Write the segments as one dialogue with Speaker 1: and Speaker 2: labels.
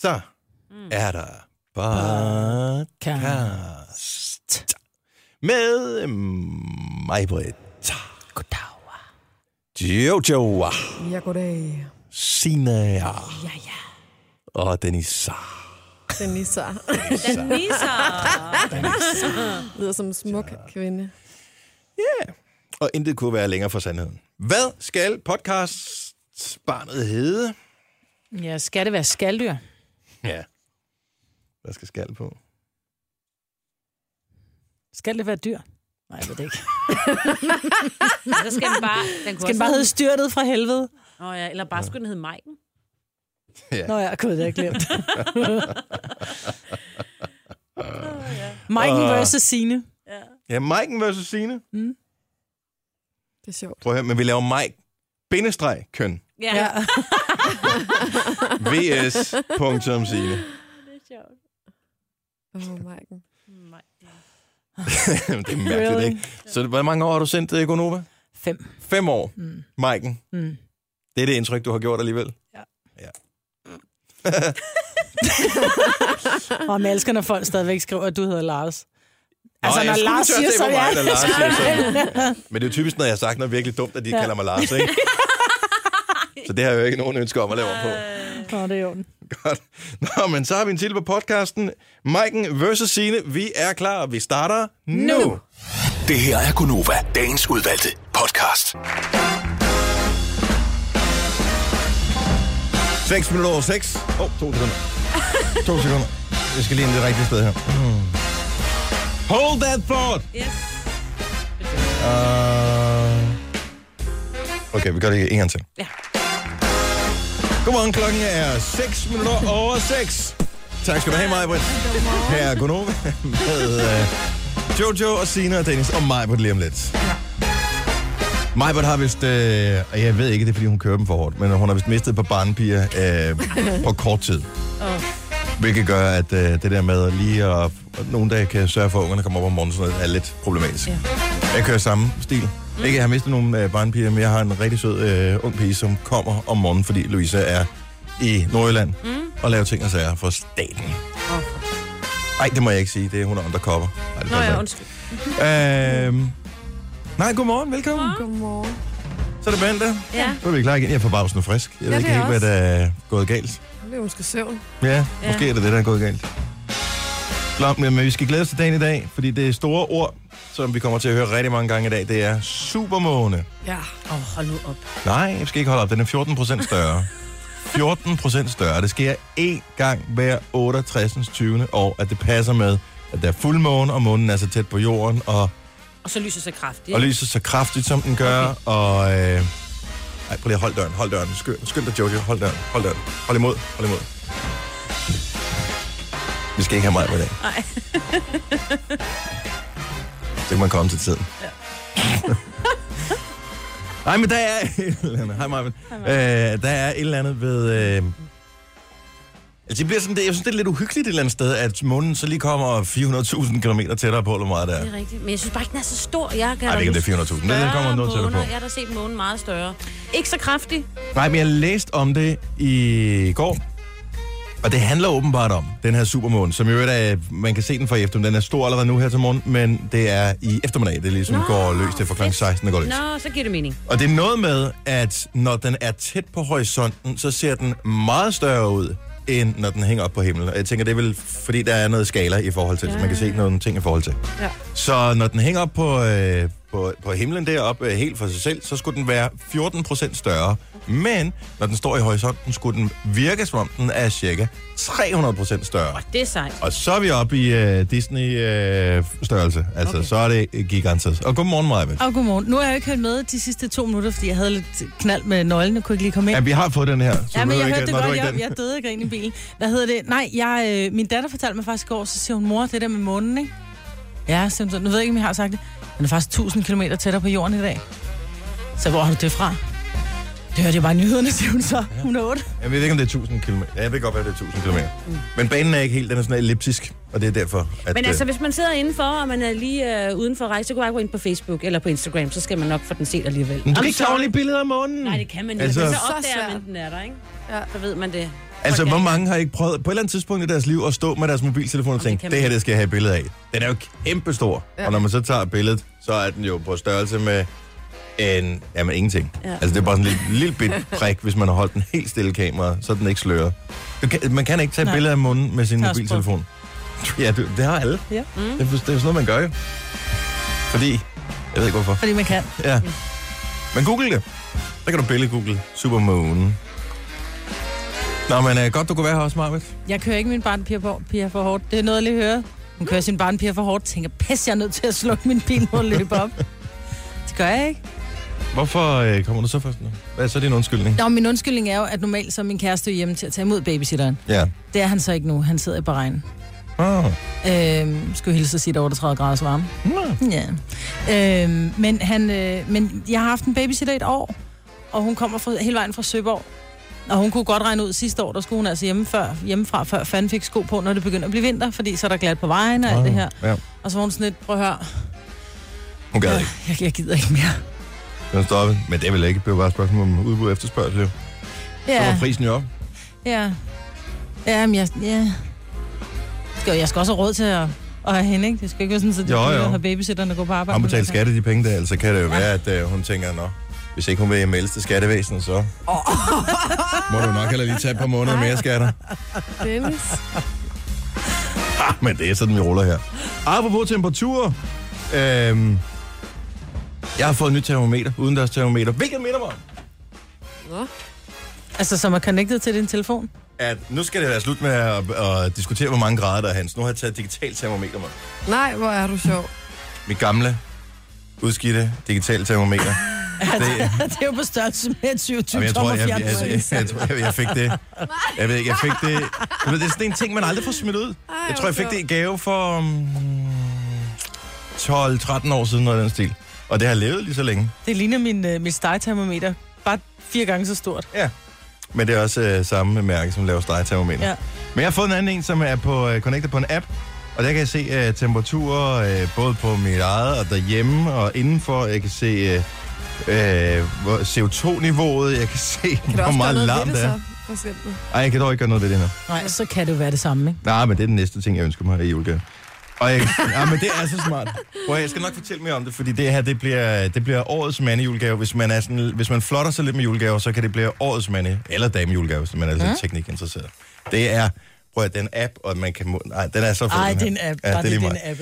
Speaker 1: Så er der podcast med mig, Britt,
Speaker 2: Goddag.
Speaker 1: Jojo,
Speaker 3: Ja, goddag.
Speaker 1: Sina
Speaker 2: Ja, ja.
Speaker 1: og Denisa.
Speaker 3: Den Nissa
Speaker 2: Den viser.
Speaker 3: lyder som en smuk kvinde.
Speaker 1: Ja. Og intet kunne være længere fra sandheden. Hvad skal podcastbarnet hedde?
Speaker 2: Ja, skal det være skaldyr?
Speaker 1: Ja. Hvad skal skal på?
Speaker 2: Skal det være dyr? Nej, jeg ved det ikke.
Speaker 4: Så skal den bare... Den kunne
Speaker 2: Skal den bare hedde styrtet fra helvede?
Speaker 4: Nå ja, eller bare skulle den hedde Majken.
Speaker 1: Ja.
Speaker 2: Nå, jeg kunne det, jeg glemt. Mike
Speaker 1: Åh.
Speaker 2: versus Signe.
Speaker 4: Ja.
Speaker 1: Ja, Maiken versus Signe.
Speaker 3: Det er sjovt.
Speaker 1: Prøv at høre, men vi laver Mike. Bindestreg køn.
Speaker 4: Ja.
Speaker 2: Ja.
Speaker 1: VS. Punktum Signe.
Speaker 4: Det er sjovt.
Speaker 3: Åh, oh, Marken.
Speaker 4: Majken.
Speaker 1: det er mærkeligt,
Speaker 2: Really?
Speaker 1: ikke? Så hvor mange år har du sendt det, Gonova?
Speaker 2: Fem.
Speaker 1: Fem år,
Speaker 2: Mm.
Speaker 1: Maiken.
Speaker 2: Mm.
Speaker 1: Det er det indtryk, du har gjort alligevel.
Speaker 2: Og jeg elsker, når folk stadigvæk skriver, at du hedder Lars. Altså,
Speaker 1: jeg
Speaker 2: når
Speaker 1: skulle
Speaker 2: Lars
Speaker 1: tør
Speaker 2: siger
Speaker 1: se, hvor
Speaker 2: sådan,
Speaker 1: meget,
Speaker 2: ja.
Speaker 1: at Lars siger sådan. Men det er jo typisk, når jeg har sagt noget virkelig dumt, at de ja. kalder mig Lars, ikke? Så det har jeg jo ikke nogen ønske om at lave om på.
Speaker 2: Nå, det er jo den.
Speaker 1: Godt. Nå, men så har vi en til på podcasten. Maiken versus Signe. Vi er klar, og vi starter nu. nu.
Speaker 5: Det her er Gunova, dagens udvalgte podcast.
Speaker 1: 6 minutter over 6. Åh, oh, to sekunder. to sekunder. Jeg skal lige ind det rigtige sted her. Hmm. Hold that thought!
Speaker 4: Yes.
Speaker 1: Uh... Øh. Okay, vi gør det en gang til.
Speaker 4: Ja.
Speaker 1: Godmorgen, klokken er 6 minutter over 6. Tak skal du have, Majbrit. Her er Gunova med uh, Jojo og Sina og Dennis og Majbrit lige om lidt. Majbert har vist, øh, og jeg ved ikke, det er, fordi hun kører dem for hårdt, men hun har vist mistet på barnpiger øh, på kort tid. Hvilket gør, at øh, det der med lige at at nogle dage kan sørge for, at ungerne kommer op om morgenen, sådan noget, er lidt problematisk. Jeg kører samme stil.
Speaker 4: Mm.
Speaker 1: Ikke, jeg har mistet nogle øh, barnpiger, men jeg har en rigtig sød øh, ung pige, som kommer om morgenen, fordi Louisa er i Nordjylland mm. og laver ting og sager for staten. Nej, det må jeg ikke sige. Det er hun er undercover. Ej, det
Speaker 4: Nå
Speaker 1: passer
Speaker 4: ja,
Speaker 1: ikke.
Speaker 4: undskyld.
Speaker 1: Øhm... Nej, godmorgen. Velkommen.
Speaker 3: Godmorgen.
Speaker 1: Så er det mandag.
Speaker 4: Ja.
Speaker 1: Så er vi klar igen. Jeg er forbavsende frisk. Jeg ved
Speaker 3: Ja,
Speaker 1: ikke
Speaker 3: det er
Speaker 1: helt, hvad
Speaker 3: også.
Speaker 1: der er gået galt.
Speaker 3: Nu bliver hun skal søvn.
Speaker 1: Ja,
Speaker 4: Ja.
Speaker 1: måske er det det, der er gået galt. Nå, men men vi skal glæde os til dagen i dag, fordi det store ord, som vi kommer til at høre rigtig mange gange i dag, det er supermåne.
Speaker 3: Ja.
Speaker 4: Åh, oh, hold nu op.
Speaker 1: Nej, jeg skal ikke holde op. Den er 14 procent større. 14 procent større. Det sker én gang hver 68. 20. år, at det passer med, at der er fuldmåne, og månen er så tæt på jorden, og
Speaker 4: Og så lyser så kraftigt.
Speaker 1: og lyser så kraftigt, som den gør, okay. og... Øh... Ej, prøv lige at holde døren, hold døren. Skynd, skynd dig, Jojo. Hold døren, hold døren. Hold imod, hold imod. Vi skal ikke have mig på i dag. Nej. så kan man komme til tiden. Ja. Nej, men der er et eller andet. Hej, Marvin. Øh, der er et eller andet ved... Øh... Altså, det bliver sådan, det, jeg synes, det er lidt uhyggeligt et eller andet sted, at månen så lige kommer 400.000 km tættere på, eller hvor meget der er.
Speaker 4: Det er rigtigt. Men jeg synes bare ikke, den er så stor. Jeg kan
Speaker 1: Ej, det kan
Speaker 4: da
Speaker 1: det er 400.000. Den
Speaker 4: større
Speaker 1: kommer noget tættere
Speaker 4: måner.
Speaker 1: på.
Speaker 4: Jeg har da set månen meget større. Ikke så kraftig.
Speaker 1: Nej, men jeg læste om det i går. Og det handler åbenbart om den her supermåne, som jo er, man kan se den fra i eftermiddag. Den er stor allerede nu her til morgen, men det er i eftermiddag, det ligesom Nå,
Speaker 4: Nå,
Speaker 1: går løs. Det er fra kl.
Speaker 4: fedt.
Speaker 1: 16, der går løs.
Speaker 4: Nå, så giver det mening.
Speaker 1: Og det er noget med, at når den er tæt på horisonten, så ser den meget større ud, end når den hænger op på himlen. Og jeg tænker, det er vel, fordi der er noget skala i forhold til, ja. så man kan se nogle ting i forhold til.
Speaker 4: Ja.
Speaker 1: Så når den hænger op på, øh, på, på himlen deroppe øh, helt for sig selv, så skulle den være 14 procent større. Men når den står i horisonten, skulle den virke, som om den er cirka 300 procent større.
Speaker 4: Det er sejt.
Speaker 1: Og så er vi oppe i øh, Disney-størrelse. altså, okay. så er det øh, gigantisk. Og godmorgen, Maja.
Speaker 2: Og godmorgen. Nu har jeg jo ikke hørt med de sidste to minutter, fordi jeg havde lidt knald med nøglen, og kunne ikke lige komme ind.
Speaker 1: Ja, vi har fået den her. Så
Speaker 2: Ja, men
Speaker 1: behøver
Speaker 2: jeg
Speaker 1: ikke-
Speaker 2: hørte det
Speaker 1: Nå, var
Speaker 2: godt.
Speaker 1: ikke
Speaker 2: Jeg,
Speaker 1: den.
Speaker 2: jeg døde ikke i bilen. Hvad hedder det? Nej, jeg, øh, min datter fortalte mig faktisk i går, så siger hun, mor, det der med månen, ikke? Ja, siger hun så. Nu ved jeg ikke, om jeg har sagt det. Den er faktisk 1000 km tættere på jorden i dag. Så hvor har du det fra? Det hørte jeg bare i nyhederne, siger hun så. Hun er 8.
Speaker 1: Jeg ved ikke, om det er 1000 km. Ja, jeg ved godt, hvad det er 1000 km. Mm. Men banen er ikke helt, den er sådan elliptisk, og det er derfor, at...
Speaker 4: Men
Speaker 1: øh,
Speaker 4: altså, hvis man sidder indenfor, og man er lige øh, uden for rejse, så kan man bare gå ind på Facebook eller på Instagram, så skal man nok få den set alligevel.
Speaker 1: Men du kan
Speaker 4: I'm
Speaker 1: ikke tage
Speaker 4: sorry.
Speaker 1: ordentlige billeder af månen.
Speaker 4: Nej, det kan man ikke.
Speaker 1: Mm. Altså-
Speaker 4: Altså, så
Speaker 3: Så
Speaker 4: opdager
Speaker 3: svært.
Speaker 4: man, den er der, ikke?
Speaker 3: Ja.
Speaker 4: Så ved man det.
Speaker 1: Altså, hvor mange har ikke prøvet på et eller andet tidspunkt i deres liv at stå med deres mobiltelefon og
Speaker 4: det
Speaker 1: tænke,
Speaker 4: kan
Speaker 1: det
Speaker 4: man
Speaker 1: her, det skal jeg have et billede af. Den er jo kæmpestor. Ja. Og når man så tager billedet, så er den jo på størrelse med en, jamen ingenting. Ja.
Speaker 4: Ja.
Speaker 1: Altså, det er bare sådan en lille, lille bit prik, hvis man har holdt den helt stille kamera, så den ikke slører. Du kan, man kan ikke tage
Speaker 2: Nej.
Speaker 1: billeder af munden med sin
Speaker 2: Jeg har også
Speaker 1: mobiltelefon. Ja, det, det har alle.
Speaker 2: Ja.
Speaker 1: Mm. Det, er, det er sådan noget, man gør jo. Fordi, jeg ved ikke hvorfor.
Speaker 2: Fordi man kan.
Speaker 1: Ja. Men google det. Der kan du billede google Supermoon. Nå, men øh, godt, du kunne være her også, Marvitt.
Speaker 2: Jeg kører ikke min barnpiger for, piger for hårdt. Det er noget, jeg lige hører. Hun kører sin barnpiger for hårdt. Tænker, pis, jeg er nødt til at slukke min bil og løbe op. Det gør jeg ikke.
Speaker 1: Hvorfor øh, kommer du så først nu? Hvad er så din undskyldning?
Speaker 2: Nå, min undskyldning er jo, at normalt så er min kæreste jo hjemme til at tage imod babysitteren.
Speaker 1: Ja.
Speaker 2: Det er han så ikke nu. Han sidder i Bahrein.
Speaker 1: Ah.
Speaker 2: Øhm, skulle hilse og sige, at det er 38 graders varme.
Speaker 1: Nå.
Speaker 2: Ja. Øhm, men, han, øh, men jeg har haft en babysitter i et år, og hun kommer fra, hele vejen fra Søborg. Og hun kunne godt regne ud sidste år, der skulle hun altså hjemme før, hjemmefra, før fanden fik sko på, når det begynder at blive vinter, fordi så er der glat på vejen og alt det her.
Speaker 1: Ja.
Speaker 2: Og så var hun sådan lidt, prøv at høre,
Speaker 1: Hun gad ikke.
Speaker 2: jeg, jeg gider ikke mere.
Speaker 1: Den stoppede. Men det er vel ikke. Det er jo bare et spørgsmål om udbud og efterspørgsel. Jo. Så var
Speaker 2: Ja,
Speaker 1: prisen jo op.
Speaker 2: ja. Ja, men jeg, ja. Skal- Jeg skal også have råd til at, at have hende, ikke? Det skal ikke være sådan, at de
Speaker 1: Jo, jo.
Speaker 2: jo, jo. har babysitterne og gå på arbejde.
Speaker 1: Han betalte skat af de penge der, altså kan det jo være, at øh, hun tænker, nå, hvis ikke hun vil meldes til skattevæsenet, så må du nok heller lige tage et par måneder mere skatter.
Speaker 3: Dennis.
Speaker 1: Men det er sådan, vi ruller her. Apropos temperaturer. Øhm, jeg har fået et nyt termometer, udendørs termometer, hvilket minder mig om,
Speaker 3: Nå.
Speaker 2: Altså, som er connected til din telefon.
Speaker 1: at nu skal det være slut med at, at diskutere, hvor mange grader der er, Hans. Nu har jeg taget et digitalt termometer med.
Speaker 3: Nej, hvor er du sjov.
Speaker 1: Mit gamle, udskidte digitale termometer. Det,
Speaker 2: det er jo på størrelse med et 27
Speaker 1: Jamen, jeg tror,
Speaker 2: tommer
Speaker 1: jeg, jeg, jeg,
Speaker 2: fjernsyn.
Speaker 1: jeg, tror, jeg, jeg fik det. Jeg ved ikke, jeg fik det. Du ved, det er sådan en ting, man aldrig får smidt ud. Jeg tror, jeg fik det i gave for mm, 12-13 år siden, noget af den stil. Og det har levet lige så længe.
Speaker 2: Det ligner min, øh, mit stegetermometer. Bare fire gange så stort.
Speaker 1: Men det er også øh, samme mærke, som laver stegetermometer. Ja.
Speaker 2: Ja.
Speaker 1: Men jeg har fået en anden en, som er på, øh, connectet på en app. Og der kan jeg se øh, temperaturer, øh, både på mit eget og derhjemme og indenfor. Jeg kan se øh, øh, hvor- CO2-niveauet. Jeg kan se, kan
Speaker 3: Kan du
Speaker 1: hvor
Speaker 3: også gøre
Speaker 1: meget
Speaker 3: noget
Speaker 1: larm
Speaker 3: ved det
Speaker 1: det er.
Speaker 3: så, for eksempel?
Speaker 1: Ej, jeg kan dog ikke gøre noget ved det her.
Speaker 2: Nej, så kan det jo være det samme, ikke?
Speaker 1: Nej, men det er den næste ting, jeg ønsker mig i julegave. Og jeg, ja, men det er så smart. Og jeg skal nok fortælle mere om det, fordi det her, det bliver, det bliver årets mande julegave. Hvis man, er sådan, hvis man flotter sig lidt med julegaver, så kan det blive årets mande, eller dame julegave, hvis man er lidt ja. teknikinteresseret. Det er, prøv at den app, og man kan... må- Nej, den er så fed.
Speaker 2: Ej,
Speaker 1: den
Speaker 2: det
Speaker 1: her.
Speaker 2: er en app.
Speaker 1: Ja, det er lige
Speaker 2: det er
Speaker 1: meget.
Speaker 2: en app,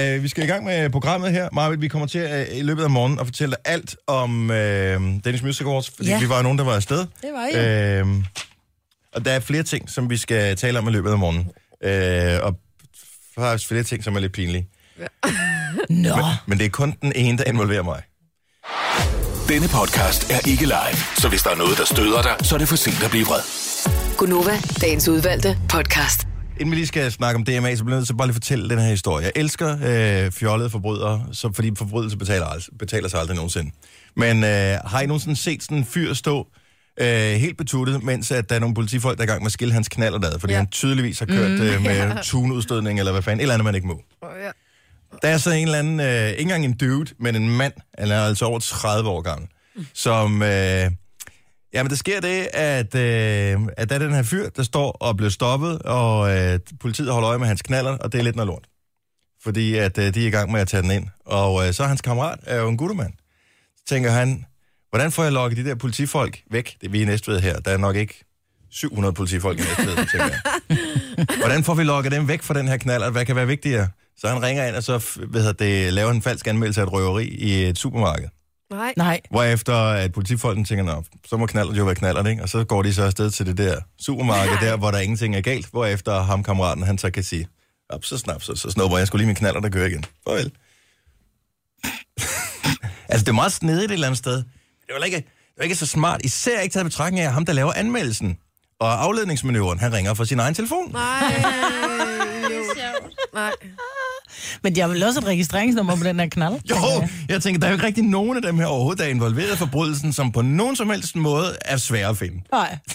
Speaker 2: ikke?
Speaker 1: Nå, øh, vi skal i gang med programmet her. Marvitt, vi kommer til øh, i løbet af morgenen at fortælle dig alt om øh, Danish Music Awards, fordi ja.
Speaker 2: Ja.
Speaker 1: vi var jo nogen, der var afsted.
Speaker 3: Det var I jo.
Speaker 1: Øh, og der er flere ting, som vi skal tale om i løbet af morgenen. Øh, og faktisk flere ting, som er lidt pinlige.
Speaker 2: Nå.
Speaker 1: Men det er kun den ene, der involverer mig.
Speaker 5: Denne podcast er ikke live, så hvis der er noget, der støder dig, så er det for sent at blive vred.
Speaker 6: Gunova, dagens udvalgte podcast.
Speaker 1: Inden vi lige skal snakke om DMA, så bliver jeg nødt til bare lige at fortælle den her historie. Jeg elsker øh, fjollede forbrydere, så, fordi forbrydelse betaler, ald- betaler sig aldrig nogensinde. Men øh, har I nogensinde set sådan en fyr stå øh, helt betuttet, mens at der er nogle politifolk, der er i gang med at skille hans knalder fordi ja.
Speaker 3: Ja.
Speaker 1: han tydeligvis har kørt mm, øh, med ja. tunudstødning, eller hvad fanden, et eller andet, man ikke må.
Speaker 3: Åh, ja.
Speaker 1: Der er så en eller anden, øh, ikke engang en dude, men en mand, han er altså over 30 år gammel, som... Øh, Jamen, der sker det, at, øh, at der er den her fyr, der står og bliver stoppet, og øh, politiet holder øje med hans knaller, og det er lidt noget lort. Fordi at øh, de er i gang med at tage den ind. Og øh, så er hans kammerat er jo en guttermand. Så tænker han, hvordan får jeg lokket de der politifolk væk? Det er vi i Næstved her. Der er nok ikke 700 politifolk i Næstved, tænker jeg. Hvordan får vi lokket dem væk fra den her knaller? Hvad kan være vigtigere? Så han ringer ind, og så f- hvad hedder det, laver en falsk anmeldelse af et røveri i et supermarked.
Speaker 3: Nej.
Speaker 2: Nej.
Speaker 1: Hvorefter at politifolken tænker, Nå, så må knallert jo være knallert, ikke? Og så går de så afsted til det der supermarked Nej. der, hvor der ingenting er galt. Hvorefter ham kammeraten, han så kan sige, op, så snap, så, så snupper jeg skulle lige min knaller, der kører igen. Farvel. altså, det er meget snedigt et eller andet sted. Det var ikke, det var ikke så smart, især ikke taget i betragtning af at ham, der laver anmeldelsen. Og afledningsmanøvren, han ringer fra sin egen telefon.
Speaker 3: Nej. Jo. Nej.
Speaker 2: Men jeg vil også et registreringsnummer på den her knald. Altså,
Speaker 1: Jo, jeg tænker, der er jo ikke rigtig nogen af dem her overhovedet, der er involveret i forbrydelsen, som på nogen som helst måde er svære at finde.
Speaker 2: Nej.
Speaker 3: Det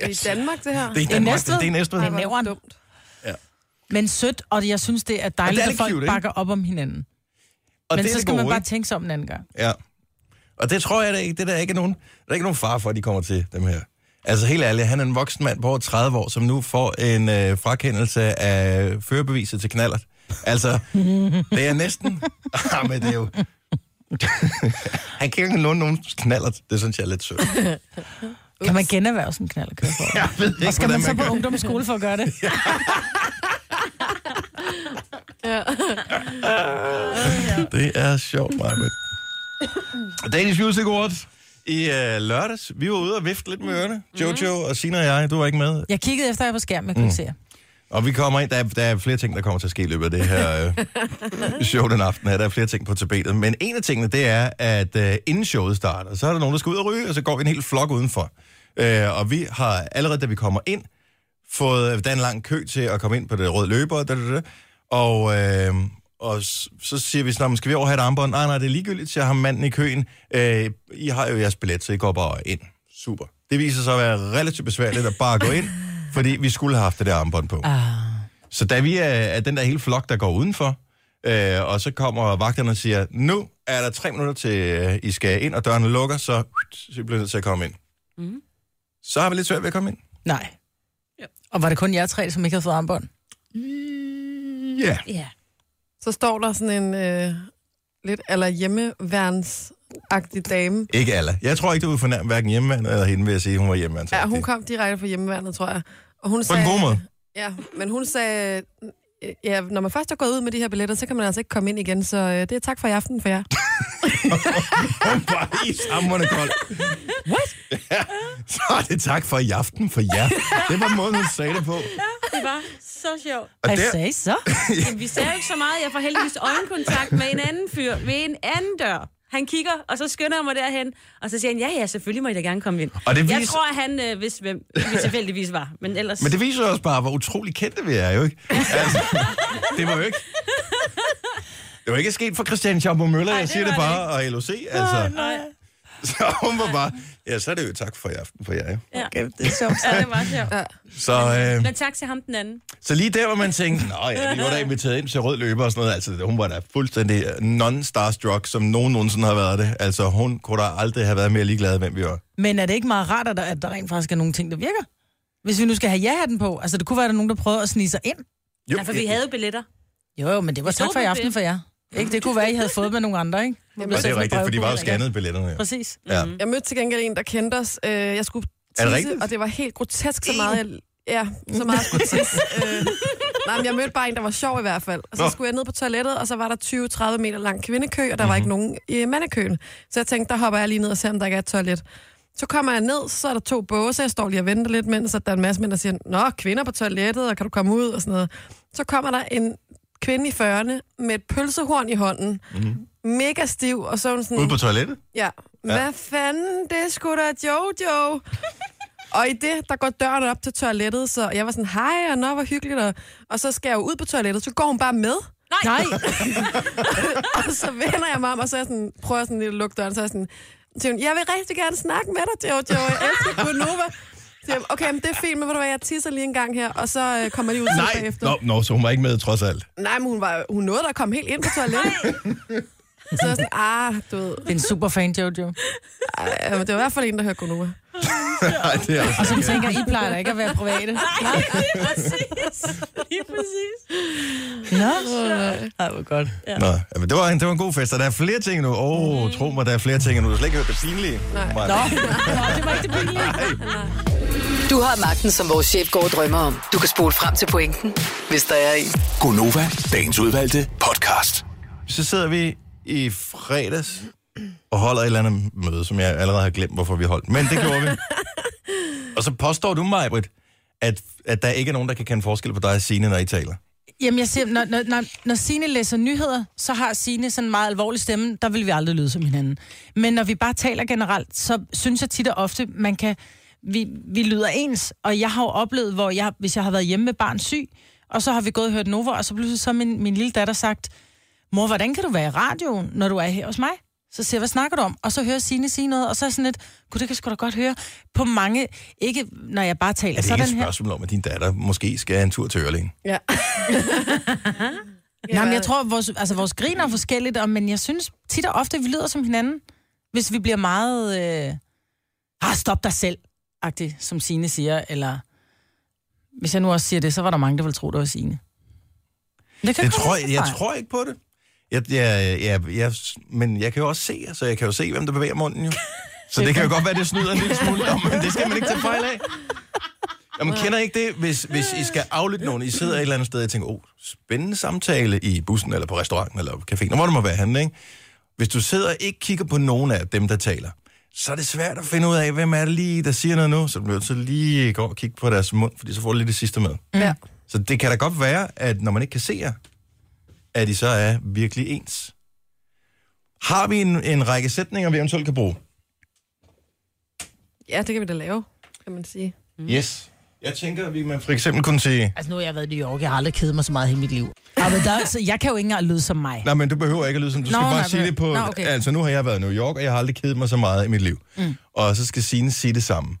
Speaker 3: er i Danmark, det her.
Speaker 1: Det er,
Speaker 2: Det er
Speaker 1: Danmark,
Speaker 2: Næstved.
Speaker 1: det er Næstved.
Speaker 2: Det
Speaker 3: Ej,
Speaker 2: er
Speaker 3: hvor er
Speaker 2: nævren.
Speaker 3: det dumt.
Speaker 2: Men sødt, og jeg synes, det er dejligt,
Speaker 1: Og det er
Speaker 2: at
Speaker 1: lidt
Speaker 2: folk
Speaker 1: cute, ikke?
Speaker 2: bakker op om hinanden.
Speaker 1: Og
Speaker 2: Men
Speaker 1: det er
Speaker 2: så
Speaker 1: det
Speaker 2: skal man
Speaker 1: gode,
Speaker 2: bare tænke sig om en anden gang.
Speaker 1: ikke? Ja. Og det tror jeg, der ikke, det der ikke er nogen, der er ikke nogen far for, at de kommer til, dem her. Altså helt ærligt, han er en voksen mand på over 30 år, som nu får en øh, frakendelse af førerbeviset til knallert. Altså, det er næsten... Ah, men det er jo... han kan ikke låne nogen knallert. Det synes jeg er lidt sødt.
Speaker 2: Kan man generhverve sådan en knald og
Speaker 1: Jeg ved ikke,
Speaker 2: Og skal
Speaker 1: hvordan
Speaker 2: man så
Speaker 1: gør
Speaker 2: på
Speaker 1: det.
Speaker 2: ungdomsskole for at gøre det?
Speaker 1: Det er sjovt, Marvind. Danish Music Awards i øh, lørdags. Vi var ude og vifte lidt med ørerne. Jojo og Sina og jeg, du var ikke med.
Speaker 2: Jeg kiggede efter jer på skærmen, jeg kunne
Speaker 1: Mm.
Speaker 2: ikke se jer.
Speaker 1: Og vi kommer ind, der er, der er flere ting, der kommer til at ske i løbet af det her øh, show den aften her. Der er flere ting på tapetet. Men en af tingene, det er, at øh, inden showet starter, så er der nogen, der skal ud og ryge, og så går vi en hel flok udenfor. Øh, og vi har allerede, da vi kommer ind, fået, der er en lang kø til at komme ind på det røde løber, da, da, da. og, øh, og s- så siger vi sådan, "Nå, skal vi over have et armbånd? Nej, nej, det er ligegyldigt, siger ham manden i køen. Øh, I har jo jeres billet, så I går bare ind. Super. Det viser sig at være relativt besværligt at bare gå ind, fordi vi skulle have haft det der armbånd på. Ah. Så da vi er, er den der hele flok, der går udenfor, øh, og så kommer vagterne og siger, nu er der tre minutter til, øh, I skal ind, og dørene lukker, så, så I bliver nødt til at komme ind. Mm.
Speaker 3: Mhm.
Speaker 1: Så har vi lidt svært ved at komme ind.
Speaker 2: Nej. Og var det kun jer tre, som ikke havde fået armbånd?
Speaker 1: Ja. Yeah.
Speaker 4: Ja.
Speaker 3: Så står der sådan en øh, lidt eller hjemmeværnsagtig dame.
Speaker 1: Ikke alle. Jeg tror ikke, du vil fornærme hverken hjemmeværende eller hende ved at sige, at hun var hjemmeværende.
Speaker 3: Ja, hun kom direkte fra hjemmeværnet, tror jeg. Og hun
Speaker 1: På en god måde.
Speaker 3: Ja, men hun sagde, øh, ja, når man først er gået ud med de her billetter, så kan man altså ikke komme ind igen, så øh, det er tak for i aften for jer.
Speaker 1: Hun var i samrende kold. What? Ja, så er det tak for i aften for jer. Det var måden, hun sagde det på.
Speaker 4: Det var så sjovt.
Speaker 1: Og
Speaker 2: Hvad
Speaker 1: der,
Speaker 2: sagde I så?
Speaker 4: Jamen, Vi sagde jo ikke så meget. Jeg får heldigvis øjenkontakt med en anden fyr ved en anden dør. Han kigger, og så skynder jeg mig derhen, og så siger han, ja, ja, selvfølgelig må I da gerne komme ind.
Speaker 1: Og det
Speaker 4: Jeg
Speaker 1: viser-
Speaker 4: tror, at han øh, vidste, hvem vi tilfældigvis var, men ellers...
Speaker 1: men det viser også bare, hvor utrolig kendte vi er, jo ikke? Altså, det var jo ikke... Det var ikke sket for Christian Schaumburg Møller, jeg
Speaker 4: det
Speaker 1: siger
Speaker 4: var
Speaker 1: det
Speaker 4: det
Speaker 1: bare, og LOC, altså.
Speaker 4: Nej.
Speaker 1: Så hun var bare, ja, så er det jo tak for i aften for jer. jo.
Speaker 4: Ja.
Speaker 2: Det er sjovt.
Speaker 4: ja, det var sjovt.
Speaker 1: Så, øh,
Speaker 4: Men tak til ham den anden.
Speaker 1: Så lige der, hvor man tænkte, nå ja, vi var da inviteret ind til rød løber og sådan noget. Altså, hun var da fuldstændig non-starstruck, som nogen nogensinde har været det. Altså, hun kunne da aldrig have været mere ligeglad, hvem vi var.
Speaker 2: Men er det ikke meget rart, at der, at der rent faktisk er nogle ting, der virker? Hvis vi nu skal have ja-hatten på, altså det kunne være, at der er nogen, der prøvede at snige sig ind.
Speaker 1: Jo,
Speaker 4: Ja, for vi havde jo billetter.
Speaker 2: Jo, jo, men det var tak
Speaker 4: stod
Speaker 2: for i
Speaker 4: på
Speaker 2: aften
Speaker 4: det.
Speaker 2: for jer. Ikke? Det kunne være, at I havde fået med nogle andre, ikke? Det
Speaker 1: Og det er rigtigt, for de var jo scannet billetterne. jo.
Speaker 2: Præcis.
Speaker 1: Ja.
Speaker 4: Mhm.
Speaker 3: Jeg mødte til gengæld en, der kendte os. Øh, jeg skulle
Speaker 1: Mm-hmm. Er det
Speaker 3: tisse,
Speaker 1: rigtigt?
Speaker 3: og det var helt grotesk så meget. Jeg, ja, så meget jeg skulle tisse. Øh, nej, men jeg mødte bare en, der var sjov i hvert fald. Og så
Speaker 1: Nå.
Speaker 3: skulle jeg ned på toilettet, og så var der 20-30 meter lang kvindekø, og der var ikke
Speaker 1: Mm-hmm.
Speaker 3: nogen i mandekøen. Så jeg tænkte, der hopper jeg lige ned og ser, om der ikke er et toilet. Så kommer jeg ned, så er der to båse, jeg står lige og venter lidt, mens at der er en masse mænd, der siger, Nå, kvinder på toilettet, og kan du komme ud, og sådan noget. Så kommer der en kvinde i 40'erne med et pølsehorn i hånden, mm-hmm. mega stiv, og så er hun sådan...
Speaker 1: Ude på toilettet?
Speaker 3: Ja. Hvad fanden, det skulle da Jojo. og i det, der går døren op til toilettet, så jeg var sådan, hej, og nå, hvor hyggeligt. Og, og så skal jeg jo ud på toilettet, så går hun bare med.
Speaker 2: Nej,
Speaker 3: Og så vender jeg mig om, og så er jeg sådan, prøver jeg sådan lidt at lukke døren, så er jeg sådan, så siger hun, jeg vil rigtig gerne snakke med dig, Jojo, jeg elsker Gunova. Så siger jeg, okay, men det er fint, men ved du hvad, jeg tisser lige en gang her, og så øh, kommer de ud til mig
Speaker 1: Nej,
Speaker 3: bagefter.
Speaker 1: nå, nå, så hun var ikke med trods alt.
Speaker 3: Nej, men hun, var, hun nåede der at komme helt ind på toilettet. så er jeg sådan, ah, du ved,
Speaker 2: det er en superfan, Jojo.
Speaker 3: ej, men det var i hvert fald en, der hørte Gunova.
Speaker 1: Nej, det er
Speaker 2: Og
Speaker 1: altså...
Speaker 2: som tænker, I plejer da ikke at være private.
Speaker 4: Nej, lige præcis. Lige præcis.
Speaker 2: Nå, Ej, hvor godt.
Speaker 1: Nå, ja, men det var, en, det var en god fest, og der er flere ting nu. Åh, oh, tro mig, der er flere ting nu. Du har slet ikke hørt det pinlige. Nej.
Speaker 2: Mm. Nå, Nå det var ikke det billige.
Speaker 6: Du har magten, som vores chef går og drømmer om. Du kan spole frem til pointen, hvis der er en.
Speaker 5: Gonova, dagens udvalgte podcast.
Speaker 1: Så sidder vi i fredags og holder et eller andet møde, som jeg allerede har glemt, hvorfor vi holdt. Men det gjorde vi. Og så påstår du mig, Britt, at, at der ikke er nogen, der kan kende forskel på dig og Signe, når I taler.
Speaker 2: Jamen, jeg siger, når, når, når, når Signe læser nyheder, så har Signe sådan en meget alvorlig stemme. Der vil vi aldrig lyde som hinanden. Men når vi bare taler generelt, så synes jeg tit og ofte, man kan... Vi, vi lyder ens, og jeg har jo oplevet, hvor jeg, hvis jeg har været hjemme med barn syg, og så har vi gået og hørt Nova, og så pludselig så har min, min lille datter sagt, mor, hvordan kan du være i radioen, når du er her hos mig? Så siger jeg, hvad snakker du om? Og så hører Signe sige noget, og så er jeg sådan lidt, gud, det kan jeg sgu da godt høre på mange, ikke når jeg bare taler
Speaker 1: Er det
Speaker 2: sådan
Speaker 1: ikke et
Speaker 2: her.
Speaker 1: spørgsmål om, at din datter måske skal have en tur til Ørling?
Speaker 3: Ja.
Speaker 2: Nej, men jeg tror, vores, altså, vores grin er forskelligt, og, men jeg synes tit og ofte, at vi lyder som hinanden, hvis vi bliver meget... Øh, ah, stop dig selv. agtig som Sine siger, eller... Hvis jeg nu også siger det, så var der mange, der ville tro, det var Sine. Men Det, kan
Speaker 1: Det
Speaker 2: godt
Speaker 1: tror
Speaker 2: være,
Speaker 1: jeg,
Speaker 2: det er
Speaker 1: jeg
Speaker 2: fejl.
Speaker 1: tror ikke på det. Jeg, jeg, jeg, jeg, men jeg kan jo også se, altså jeg kan jo se, hvem der bevæger munden jo. Så det kan jo godt være, det snyder en lille smule, Nå, men det skal man ikke tage fejl af. Jamen, kender I ikke det, hvis, hvis I skal aflytte nogen, I sidder et eller andet sted og tænker, oh, spændende samtale i bussen, eller på restauranten, eller på caféen, og hvor det må være henne, ikke? Hvis du sidder og ikke kigger på nogen af dem, der taler, så er det svært at finde ud af, hvem er det lige, der siger noget nu, så du bliver nødt til lige gå og kigge på deres mund, fordi så får du lige det sidste med.
Speaker 3: Ja.
Speaker 1: Så det kan da godt være, at når man ikke kan se jer, at I så er virkelig ens. Har vi en, en række sætninger, vi eventuelt kan bruge?
Speaker 3: ja, det kan vi da lave, kan man sige.
Speaker 1: Mm. Yes. Jeg tænker, at vi man for eksempel kunne sige,
Speaker 7: Altså, nu har jeg været i New York. Jeg har aldrig kedet mig så meget i hele mit liv. Ah, men der, er- så
Speaker 2: altså-
Speaker 7: jeg kan jo ikke engang lyde som mig.
Speaker 1: nej, men du behøver ikke at lyde som, du
Speaker 2: Nå,
Speaker 1: skal bare
Speaker 2: nej,
Speaker 1: sige
Speaker 2: men-
Speaker 1: det på,
Speaker 2: Nå, okay.
Speaker 1: altså nu har jeg været i New York, og jeg har aldrig kedet mig så meget i mit liv. Mm. Og så skal Signe sige det samme.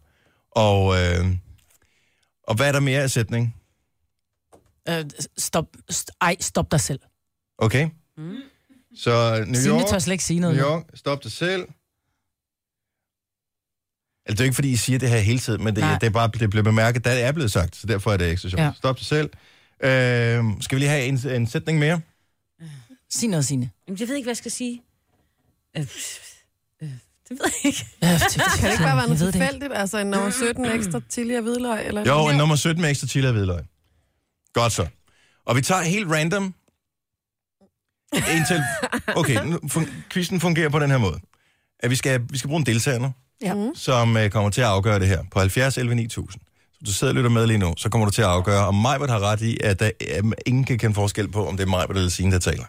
Speaker 1: Og, øh, og hvad er der mere af sætning?
Speaker 2: Øh, stop, st- ej, stop dig selv.
Speaker 1: Okay? Mm. Så New
Speaker 2: Sine
Speaker 1: York,
Speaker 2: tør slet ikke sige noget.
Speaker 1: New
Speaker 2: nu.
Speaker 1: York, stop dig selv. Altså, det er jo ikke, fordi I siger det her hele tiden, men det,
Speaker 2: Nej.
Speaker 1: det er bare det blev bemærket, da det er blevet sagt, så derfor er det ekstra sjovt. Ja.
Speaker 2: Ja.
Speaker 1: Stop dig selv. Øh, skal vi lige have en, en sætning mere?
Speaker 2: Sig noget, Signe.
Speaker 4: Jamen, jeg ved ikke, hvad jeg skal sige. Øh, øh, det ved jeg ikke.
Speaker 2: Ja,
Speaker 3: Kan det ikke bare være noget tilfældigt? Altså en nummer 17 ekstra chili og hvidløg? Eller
Speaker 1: Jo, en nummer 17 med ekstra chili og hvidløg. Godt så. Og vi tager helt random. En til. Okay, nu, fun- quizzen fungerer på den her måde. At vi skal, vi skal bruge en deltager nu.
Speaker 3: Ja.
Speaker 1: som øh, kommer til at afgøre det her på 70 11 9000. Så du sidder og lytter med lige nu, så kommer du til at afgøre, om Majbert har ret i, at der, øh, ingen kan kende forskel på, om det er Majbert eller Signe, der taler.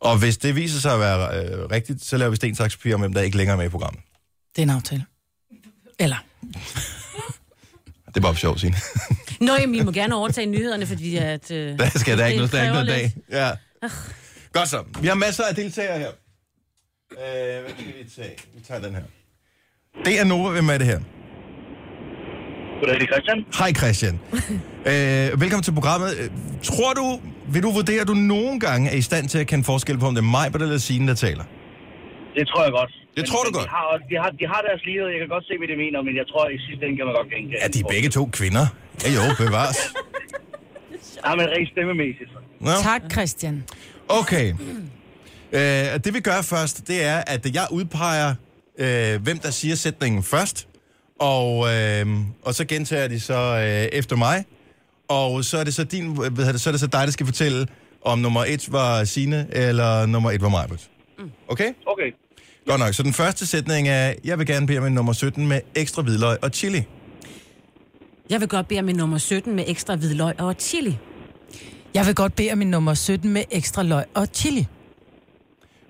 Speaker 1: Og hvis det viser sig at være øh, rigtigt, så laver vi sten, saks, papir om, hvem der ikke længere er med i programmet.
Speaker 2: Det er en aftale. Eller,
Speaker 1: Det er bare for sjov, Signe.
Speaker 4: Nå, jamen, I må gerne overtage nyhederne, fordi at... Øh,
Speaker 1: Der skal der er ikke noget,
Speaker 4: det
Speaker 1: der er ikke noget
Speaker 4: kræver
Speaker 1: dag. Ja. Godt så. Vi har masser af deltagere her. Øh, hvad skal vi tage? Vi tager den her. Det er Nova, hvem er det her?
Speaker 8: Goddag, det er Christian.
Speaker 1: Hej Christian. øh, velkommen til programmet. Øh, Tror du, vil du vurdere, at du nogle gange er i stand til at kende forskel på, om det er mig eller Signe, der taler?
Speaker 8: Det tror jeg godt.
Speaker 1: Det tror du godt?
Speaker 8: De har, også- de, har, de har deres lighed, jeg kan godt se, hvad de mener, men jeg tror, at i sidste ende kan man godt genkende.
Speaker 1: Ja, de er begge to kvinder. Ja jo, bevares.
Speaker 8: Ja, men rent stemmemæssigt.
Speaker 1: Nå,
Speaker 2: tak Christian.
Speaker 1: okay. Øh, og det vi gør først, det er, at jeg udpeger, øh, hvem der siger sætningen først, og, øh, og så gentager de så øh, efter mig, og så er det så din, hvad hedder det, så er det så dig, der skal fortælle, om nummer et var Signe, eller nummer et var Majbert. Okay?
Speaker 8: Okay.
Speaker 1: Godt nok. Så den første sætning er, jeg vil gerne bede om en nummer 17 med ekstra hvidløg og chili.
Speaker 4: lidt. Jeg vil godt bede om en nummer 17 med ekstra hvidløg og chili.
Speaker 2: Jeg vil godt bede om min nummer 17 med ekstra løg og chili.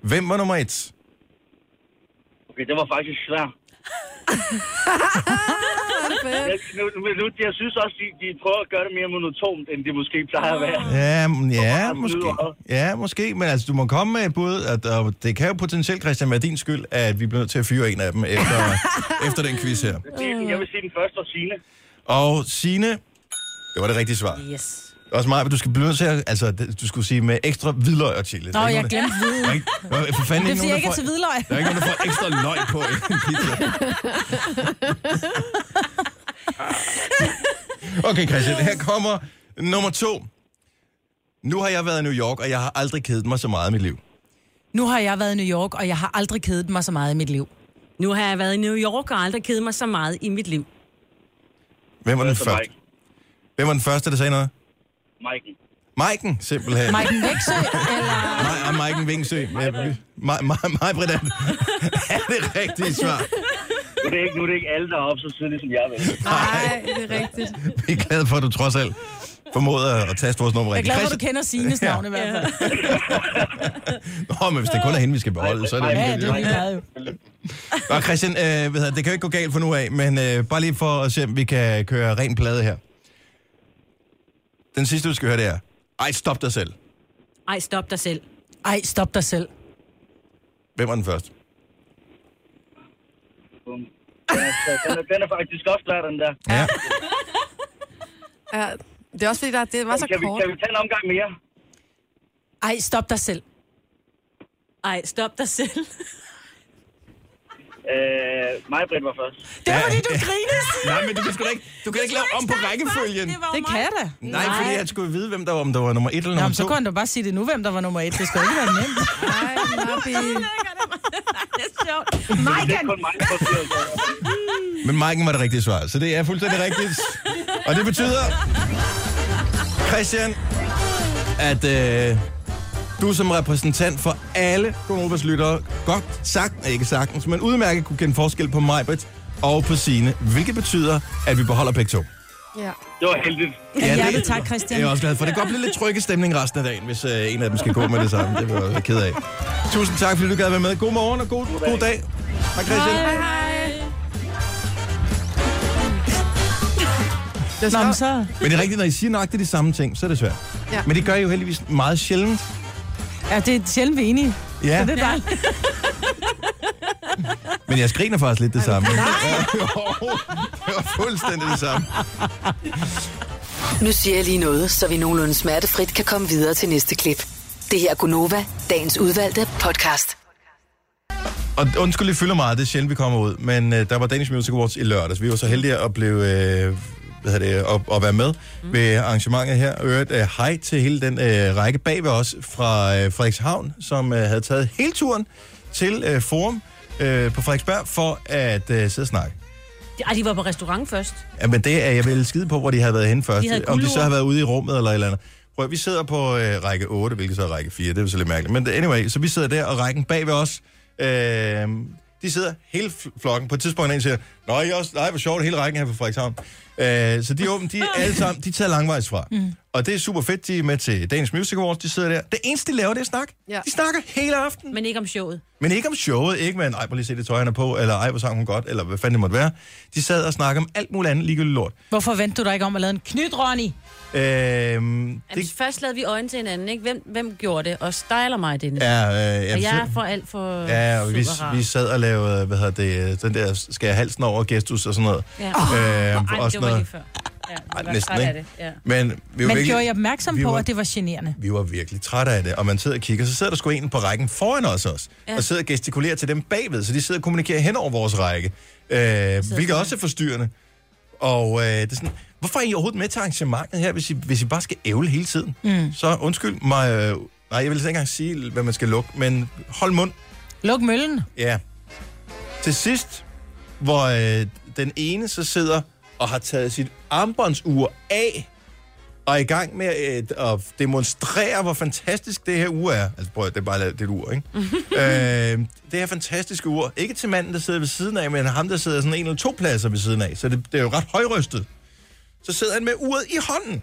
Speaker 1: Hvem var nummer et?
Speaker 8: Okay, det var faktisk svært. jeg, nu, nu, nu, jeg synes også, de, de prøver at gøre det mere monotomt, end det måske plejer at være.
Speaker 1: Ja, m- ja,
Speaker 8: Hvor mange
Speaker 1: måske.
Speaker 8: hvidløg?
Speaker 1: Ja, måske. Men altså, du må komme med et bud, at, og det kan jo potentielt, Christian, være din skyld, at vi bliver nødt til at fyre en af dem efter, efter den quiz her.
Speaker 8: Jeg vil sige den første og Signe.
Speaker 1: Og Sine, det var det rigtige svar.
Speaker 4: Yes.
Speaker 1: Også mig, men du skal blive nødt til at, altså, det- du skulle sige med ekstra hvidløg og chili.
Speaker 2: Nå, jeg glemte hviden.
Speaker 1: det. For fanden,
Speaker 2: Det er
Speaker 1: ikke
Speaker 2: fordi,
Speaker 1: nogen,
Speaker 2: jeg
Speaker 1: der
Speaker 2: ikke er
Speaker 1: får,
Speaker 2: til hvidløg.
Speaker 1: der er ikke nogen, der får ekstra løg på en pizza. Okay, Christian, her kommer nummer to. Nu har jeg været i New York, og jeg har aldrig kedet mig så meget i mit liv.
Speaker 2: Nu har jeg været i New York, og jeg har aldrig kedet mig så meget i mit liv.
Speaker 4: Nu har jeg været i New York og aldrig kedet mig så meget i mit liv.
Speaker 1: Hvem var den
Speaker 8: Første
Speaker 1: første?
Speaker 8: Mike.
Speaker 1: Hvem var den første, der sagde noget?
Speaker 8: Maiken.
Speaker 1: Maiken, simpelthen.
Speaker 2: Maiken Væksø, eller...
Speaker 1: Nej, og Maiken Vingsø. Mig, mig, mig, Britt, er er det rigtige svar?
Speaker 8: Nu er det ikke, nu er det ikke alle, der er oppe så tidligt, som jeg vil.
Speaker 3: Nej, det er rigtigt.
Speaker 1: Vi er glade for, at du trods alt formåede at taste vores nummer
Speaker 2: Jeg er
Speaker 1: rigtigt.
Speaker 2: glad for, at du kender Sines navn i hvert fald.
Speaker 1: Nå, men hvis det kun er hende, vi skal beholde, så er det
Speaker 8: Ja,
Speaker 2: Ja,
Speaker 1: ligegyldigt.
Speaker 2: det er lige meget jo.
Speaker 1: Og Christian, øh, ved jeg, det kan jo ikke gå galt for nu af, men øh, bare lige for at se, om vi kan køre ren plade her. Den sidste, du skal høre, det er, ej, stop dig selv.
Speaker 4: Ej, stop dig selv.
Speaker 2: Ej, stop dig selv.
Speaker 1: Hvem var den første?
Speaker 8: Bum. Den er, den, er, den er faktisk også klar, den der.
Speaker 1: Ja.
Speaker 3: Ja, det er også fordi, der, det var så
Speaker 8: Kan vi,
Speaker 3: kort.
Speaker 8: kan vi tage en omgang mere?
Speaker 2: Ej, stop dig selv.
Speaker 4: Ej, stop dig selv.
Speaker 8: Øh, mig Britt var først.
Speaker 2: Det var fordi, du griner, Signe.
Speaker 1: Nej, men du kan sgu da ikke, du kan ikke lave om på rækkefølgen.
Speaker 2: Det kan jeg da.
Speaker 1: Nej, fordi jeg skulle vide, hvem der var, om der var nummer 1 eller nummer
Speaker 2: Nå, men så
Speaker 1: 2.
Speaker 2: kunne han da bare sige det nu, hvem der var nummer et. Det skal jo ikke være nemt.
Speaker 3: Ej, Nobby.
Speaker 4: Det er sjovt.
Speaker 8: Det er kun mig, der forstyrrer sig.
Speaker 1: Men Maiken var det rigtige svar, så det er fuldstændig rigtigt. Og det betyder, Christian, at øh, du som repræsentant for alle Gonovas lyttere godt sagt, ikke sagtens, men udmærket kunne kende forskel på Majbrit og på Sine, hvilket betyder, at vi beholder begge to.
Speaker 3: Ja.
Speaker 8: Det var heldigt.
Speaker 1: Ja,
Speaker 2: Hjertet tak, Christian.
Speaker 1: Jeg er jeg også glad for. Det kan godt blive lidt trygge stemning resten af dagen, hvis øh, en af dem skal gå med det samme. Det var jeg ked af. Tusind tak, fordi du gad være med. God morgen og god, god dag. Hej, Christian.
Speaker 3: Hej, hej. Det er
Speaker 2: Nå, men
Speaker 3: sjovt.
Speaker 2: så...
Speaker 1: Men det er rigtigt, når I siger nøjagtigt de samme ting, så er det svært.
Speaker 3: Ja.
Speaker 1: Men det gør I jo heldigvis meget sjældent.
Speaker 2: Ja, det er sjældent, vi er enige.
Speaker 1: Ja,
Speaker 2: Så det er dejligt.
Speaker 1: men jeg skriner faktisk lidt det samme. Nej! det var fuldstændig det samme.
Speaker 6: Nu siger jeg lige noget, så vi nogenlunde smertefrit kan komme videre til næste klip. Det her er Gunova, dagens udvalgte podcast.
Speaker 1: Og undskyld, det fylder meget, det er sjældent, vi kommer ud. Men øh, der var Danish Music Awards i lørdags. Vi var så heldige at blive... Øh, hvad hedder det, at, at være med mm. ved arrangementet her. Og øvrigt, øh, hej til hele den øh, række bag ved os fra øh, Frederikshavn, som øh, havde taget hele turen til øh, Forum øh, på Frederiksberg for at øh, sidde og snakke.
Speaker 4: Ej, de var på restaurant først.
Speaker 1: Ja, men det er jeg vel skide på, hvor de havde været henne først.
Speaker 4: De havde
Speaker 1: Om de
Speaker 4: guldord.
Speaker 1: så har været ude i rummet eller et eller andet. Prøv, at- vi sidder på øh, række 8, hvilket så er række 4. Det er så lidt mærkeligt. Men anyway, så vi sidder der, og rækken bag ved os, øh, de sidder hele fl- flokken. På et tidspunkt er en der siger, nej, jeg også, nej, hvor sjovt, hele rækken her fra Frederikshavn. Øh, så de er åbne, de er alle sammen, de er taget langvejs fra. Mm. Og det er super fedt, de er med til Danish Music Awards, de sidder der. Det eneste, de laver, det er snak.
Speaker 3: Ja.
Speaker 1: De snakker hele aftenen.
Speaker 4: Men ikke om showet.
Speaker 1: Men ikke om showet, ikke med en, ej, prøv lige at se det tøj, han er på, eller ej, hvor sang hun godt, eller hvad fanden det måtte være. De sad og snakkede om alt muligt andet ligegyldigt lort.
Speaker 2: Hvorfor vendte du dig ikke om at lave en knyt, Ronny?
Speaker 1: Øhm,
Speaker 4: Jamen,
Speaker 1: det
Speaker 4: det... Først lavede vi øjne til hinanden, ikke? Hvem, hvem gjorde det? Og styler mig, Dennis.
Speaker 1: er... Øh,
Speaker 4: og
Speaker 1: jamen,
Speaker 4: jeg er
Speaker 1: så-
Speaker 4: for alt for
Speaker 1: Ja,
Speaker 4: sød
Speaker 1: og vi,
Speaker 4: og rar.
Speaker 1: vi sad og lavede, hvad hedder det, øh, den der skære halsen over gestus og sådan noget.
Speaker 4: Ja.
Speaker 1: Øhm,
Speaker 4: Ej,
Speaker 1: og sådan
Speaker 4: det var
Speaker 1: noget.
Speaker 4: lige før. Ja,
Speaker 1: Ej,
Speaker 4: jeg var
Speaker 1: næsten
Speaker 4: træt af
Speaker 1: ikke.
Speaker 4: det, Ja.
Speaker 1: Men vi var,
Speaker 2: Men
Speaker 1: virkelig,
Speaker 2: gjorde jeg opmærksom
Speaker 1: vi
Speaker 2: på,
Speaker 1: var-
Speaker 2: at det var generende.
Speaker 1: vi var virkelig trætte af det, og man sidder og kigger, så sidder der sgu en på rækken foran os også, ja. og sidder og gestikulerer til dem bagved, så de sidder og kommunikerer hen over vores række, øh, hvilket også er forstyrrende. Og øh, det er sådan, hvorfor er I overhovedet med til arrangementet her, hvis I, hvis I bare skal ævle hele tiden? Mm. Så undskyld mig, øh, nej, jeg vil ikke engang sige, hvad man skal lukke, men hold mund.
Speaker 2: Luk møllen.
Speaker 1: Ja. Til sidst, hvor øh, den ene så sidder og har taget sit armbåndsur af, og er i gang med øh, at demonstrere, hvor fantastisk det her ur er. Altså prøv at- det er bare lavet- det er et ur, ikke? øh, det her fantastiske ur. Ikke til manden, der sidder ved siden af, men ham, der sidder sådan en eller to pladser ved siden af. Så det, det er jo ret højrystet. Så sidder han med uret i hånden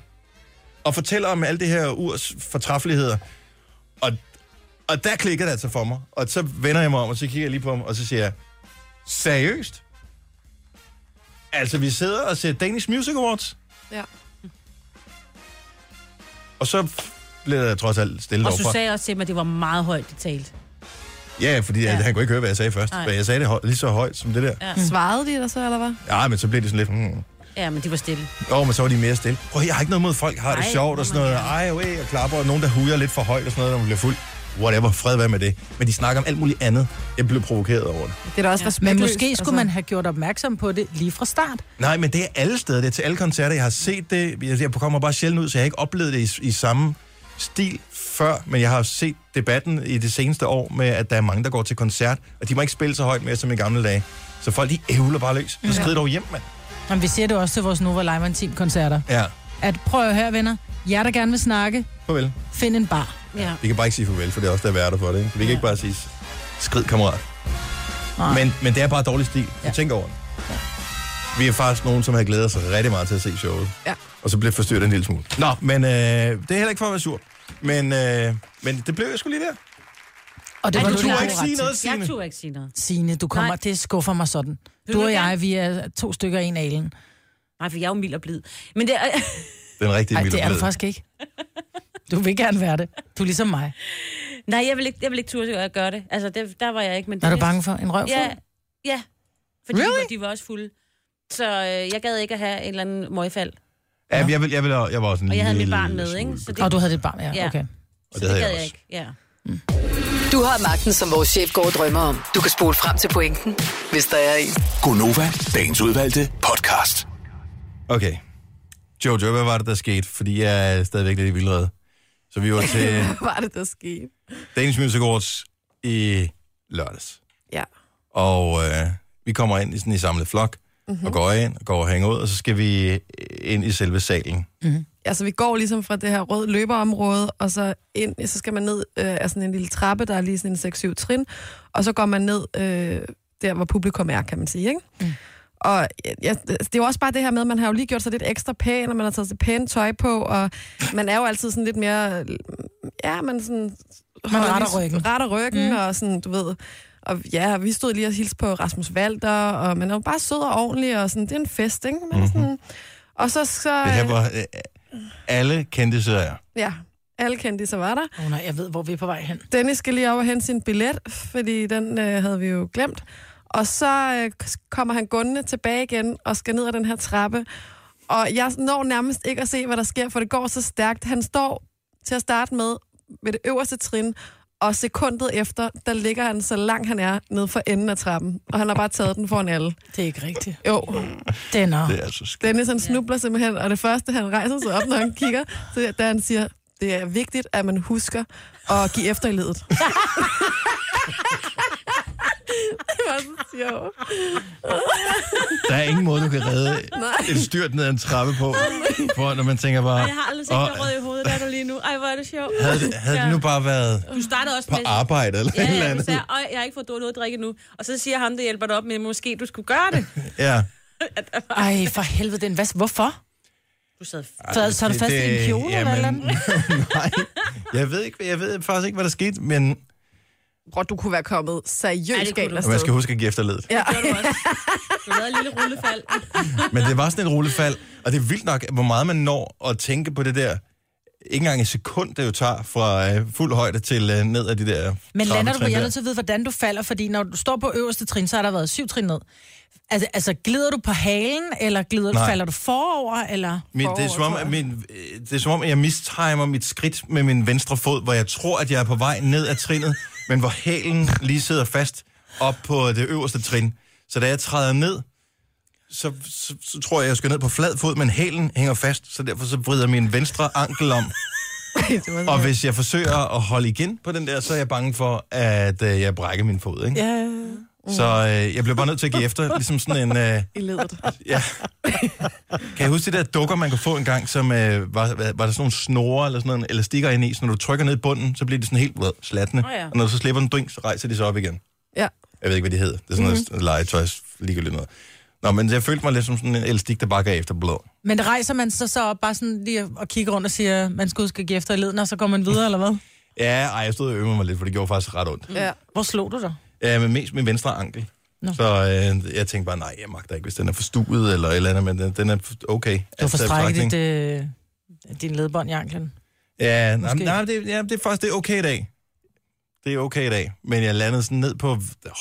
Speaker 1: og fortæller om alle det her urs fortræffeligheder. Og, og der klikker det altså for mig. Og så vender jeg mig om, og så kigger jeg lige på ham, og så siger jeg, seriøst? Altså, vi sidder og ser Danish Music Awards.
Speaker 3: Ja.
Speaker 1: Og så blev der trods alt stille
Speaker 4: Og
Speaker 1: derovre.
Speaker 4: Susanne sagde også til mig, at det var meget højt, det talte.
Speaker 1: Ja, fordi ja. han kunne ikke høre, hvad jeg sagde først.
Speaker 4: Nej.
Speaker 1: For jeg sagde det høj, lige så højt som det der. Ja.
Speaker 3: Svarede de dig så, eller hvad?
Speaker 1: ja, men så blev det sådan lidt... Hmm.
Speaker 4: Ja, men de var stille.
Speaker 1: Åh, men så var de mere stille. Prøv, jeg har ikke noget mod folk, har det
Speaker 4: Nej,
Speaker 1: sjovt
Speaker 4: må
Speaker 1: og sådan noget.
Speaker 4: man
Speaker 1: Ej, okay, og klapper, og nogen, der hujer lidt for højt og sådan noget, når man bliver fuld. Whatever, fred være med det. Men de snakker om alt muligt andet. Jeg blev provokeret over det.
Speaker 3: Det er da også ja.
Speaker 2: Men
Speaker 3: respektløst. altså.
Speaker 2: måske skulle man have gjort opmærksom på det lige fra start.
Speaker 1: Nej, men det er alle steder. Det er til alle koncerter. Jeg har set det. Jeg jeg kommer bare sjældent ud, så jeg har ikke oplevet det i, i samme stil før. Men jeg har set debatten i det seneste år med, at der er mange, der går til koncert, og de må ikke spille så højt mere som i gamle dage. Så folk, de ævler bare løs. Så skrid dog hjem, mand.
Speaker 2: Men vi siger det også til vores Nova Leiman Team koncerter.
Speaker 1: Ja,
Speaker 2: At prøv at høre, venner. Jer, der gerne vil snakke,
Speaker 1: farvel.
Speaker 2: find en bar.
Speaker 4: Ja.
Speaker 1: Vi kan bare ikke sige farvel, for det er også der er værter for det. Ikke? Vi kan ikke bare sige, skrid kammerat.
Speaker 2: Nej.
Speaker 1: Men, men det er bare dårlig stil. Ja.
Speaker 2: Ja.
Speaker 1: Tænk over det. Vi er faktisk nogen, som har glædet sig rigtig meget til at se showet.
Speaker 3: Ja.
Speaker 1: Og så blev forstyrret en lille smule. Nå, men øh, det er heller ikke for at være sur. Men, øh, men det blev jeg sgu lige der.
Speaker 2: Og det
Speaker 4: Ej,
Speaker 2: var
Speaker 4: du
Speaker 2: du,
Speaker 1: Du
Speaker 4: turde
Speaker 1: må
Speaker 4: har
Speaker 2: der
Speaker 1: ikke
Speaker 2: havde
Speaker 1: sige
Speaker 2: ret
Speaker 1: noget,
Speaker 2: til.
Speaker 1: Signe.
Speaker 4: Jeg tog ikke sige noget.
Speaker 2: Signe, du kommer,
Speaker 4: Nej.
Speaker 2: det skuffer mig sådan. Du
Speaker 4: du
Speaker 2: og jeg,
Speaker 4: gerne?
Speaker 2: vi er to stykker en alen.
Speaker 4: Nej, for jeg er jo mild og blid. Men det er...
Speaker 1: Den rigtige
Speaker 2: Nej,
Speaker 1: Ej,
Speaker 2: det er du faktisk ikke. Du vil gerne være det. Du er ligesom mig.
Speaker 4: Nej, jeg vil ikke, jeg vil ikke turde at gøre det. Altså, det, der var jeg ikke. Men
Speaker 2: Er du
Speaker 4: det-
Speaker 2: bange for en røvfuld?
Speaker 4: Ja, ja. Fordi
Speaker 2: Really?
Speaker 4: really? de, var, de var også fulde. Så øh, jeg gad ikke at have en eller anden møgfald.
Speaker 1: Ja, jeg, vil, jeg, vil, jeg var også en
Speaker 4: Og jeg havde mit
Speaker 1: lille
Speaker 4: barn med,
Speaker 1: smule
Speaker 4: ikke? Så det,
Speaker 2: Og du havde dit barn, ja.
Speaker 4: Ja.
Speaker 2: Okay.
Speaker 1: Og
Speaker 4: så
Speaker 1: det havde jeg
Speaker 4: gad
Speaker 1: også.
Speaker 4: ikke. Ja.
Speaker 6: Du har magten, som vores chef går og drømmer om. Du kan spole frem til pointen, hvis der er en.
Speaker 5: Gonova, dagens udvalgte podcast.
Speaker 1: Okay. Jojo, hvad var det, der skete? Fordi jeg er stadigvæk lidt i vildrede. Så vi var til
Speaker 3: Hvad var det, der skete?
Speaker 1: Danish Music Awards i lørdags.
Speaker 3: Ja.
Speaker 1: Og øh, vi kommer ind i sådan i samlet flok, mm-hmm. og går ind, og går og hænger ud, og så skal vi øh, ind i selve salen.
Speaker 3: Altså, vi går ligesom fra det her røde løberområde, og så ind, så skal man ned øh, af sådan en lille trappe, der er lige sådan en 6-7 trin, og så går man ned øh, der, hvor publikum er, kan man sige, ikke? Mm. Og ja, det er jo også bare det her med, at man har jo lige gjort sig lidt ekstra pæn, og man har taget sig pænt tøj på, og man er jo altid sådan lidt mere... øh, Ja, man sådan... holder
Speaker 2: retter
Speaker 3: lige-
Speaker 2: ryggen.
Speaker 3: Retter ryggen, mm. og sådan, du ved... Og ja, og vi stod lige og hilste på Rasmus Walter, og man er jo bare sød og ordentlig, og sådan, det er en fest, ikke? Man mm-hmm. sådan, og så... så
Speaker 1: Det her var øh, alle kendte serier.
Speaker 3: Ja, alle kendte, så var der.
Speaker 2: Åh oh, nej, jeg ved, hvor vi er på vej hen.
Speaker 3: Dennis skal lige over og hente sin billet, fordi den øh, havde vi jo glemt. Og så øh, kommer han gående tilbage igen og skal ned ad den her trappe. Og jeg når nærmest ikke at se, hvad der sker, for det går så stærkt. Han står til at starte med ved det øverste trin, og sekundet efter, der ligger han så langt han er nede for enden af trappen. Og han har bare taget den foran alle.
Speaker 2: Det er ikke rigtigt.
Speaker 3: Jo,
Speaker 2: Det er nok.
Speaker 1: Det er så sk-
Speaker 3: Dennis han snubler simpelthen, og det første, han rejser sig op, når han kigger, så er, da han siger, det er vigtigt, at man husker at give efter i ledet. det var så sjovt.
Speaker 1: Der er ingen måde, du kan redde et styrt ned ad en trappe på, hvor, når man tænker bare...
Speaker 4: Jeg har aldrig set
Speaker 1: "Åh,
Speaker 4: dig rød i hovedet, der er du lige nu. Ej, hvor er det sjovt.
Speaker 1: havde, det- havde det nu bare været
Speaker 4: Du startede også
Speaker 1: på
Speaker 4: med...
Speaker 1: arbejde eller
Speaker 4: Ja,
Speaker 1: et eller
Speaker 4: ja, du
Speaker 1: andet?
Speaker 4: sagde, "Øj, jeg har ikke fået noget at drikke nu. Og så siger ham, det hjælper dig op med, måske du skulle gøre det.
Speaker 1: Ja.
Speaker 2: Ej, for helvede, den vask. Hvorfor?
Speaker 4: Du sad
Speaker 2: Så, så er du fast i en kjole eller et eller andet?
Speaker 1: nej, jeg ved, ikke, jeg ved faktisk ikke, hvad der skete, men
Speaker 3: Bror, du kunne være kommet
Speaker 4: Ja,
Speaker 3: seriøst
Speaker 4: det kunne
Speaker 3: galt
Speaker 4: du.
Speaker 1: man
Speaker 3: afsted.
Speaker 1: skal huske at give efterledet.
Speaker 3: Ja.
Speaker 4: du også. Du lavede et lille rullefald.
Speaker 1: Men det var sådan et rullefald, og det er vildt nok, hvor meget man når at tænke på det der. Ikke engang et sekund, det jo tager fra øh, fuld højde til øh, ned af de der
Speaker 2: Men lander du på,
Speaker 1: trappetrin
Speaker 2: jeg er
Speaker 1: der.
Speaker 2: nødt til at vide, hvordan du falder, fordi når du står på øverste trin, så har der været syv trin ned. Altså, altså glider du på halen, eller glider du,
Speaker 1: Nej.
Speaker 2: falder du forover, eller...
Speaker 1: Min, det, er som om, at min, øh, det er som om, at jeg mistimer mit skridt med min venstre fod, hvor jeg tror, at jeg er på vej ned ad trinet, men hvor hælen lige sidder fast op på det øverste trin. Så da jeg træder ned, så, så, så tror jeg, jeg skal ned på flad fod, men hælen hænger fast, så derfor så vrider min venstre ankel om. Og hvis jeg forsøger at holde igen på den der, så er jeg bange for, at øh, jeg brækker min fod. Ikke?
Speaker 2: Ja,
Speaker 1: Så øh, jeg bliver bare nødt til at give efter, ligesom sådan en... Øh,
Speaker 3: I ledet.
Speaker 1: Ja. Kan jeg huske de der dukker, man kunne få en gang, som øh, var, var, var der sådan nogle snore eller sådan noget, eller stikker ind i, så når du trykker ned i bunden, så bliver de sådan helt øh, slattende.
Speaker 4: Åh, ja.
Speaker 1: Og når du så slipper en drink, så rejser de sig op igen.
Speaker 3: Ja.
Speaker 1: Jeg ved ikke, hvad de hedder. Det er sådan
Speaker 4: Mhm.
Speaker 1: mm-hmm. noget legetøj, ligegyldigt noget. Nå, men jeg følte mig lidt som sådan en elastik, der bare gav efter blå.
Speaker 2: Men rejser man så, så op bare sådan lige og kigger rundt og siger, man skal huske at give efter i leden, og så går man videre, eller hvad?
Speaker 1: Ja, ej, jeg stod og øvede mig lidt, for det gjorde faktisk ret ondt.
Speaker 3: ja.
Speaker 2: Hvor slog du dig?
Speaker 1: Ja, men mest min venstre ankel.
Speaker 2: Nå.
Speaker 1: Så øh, jeg tænkte bare, nej, jeg magter ikke, hvis den er forstuet eller et eller andet, men den, den er okay.
Speaker 2: Du har
Speaker 1: Altså,
Speaker 2: forstrækket
Speaker 1: betragtning.
Speaker 2: dit, øh, din ledbånd i anklen.
Speaker 1: Ja, nej,
Speaker 2: Måske.
Speaker 1: nej det, ja, det er faktisk det er okay i dag. Det er okay i dag. Men jeg landede sådan ned på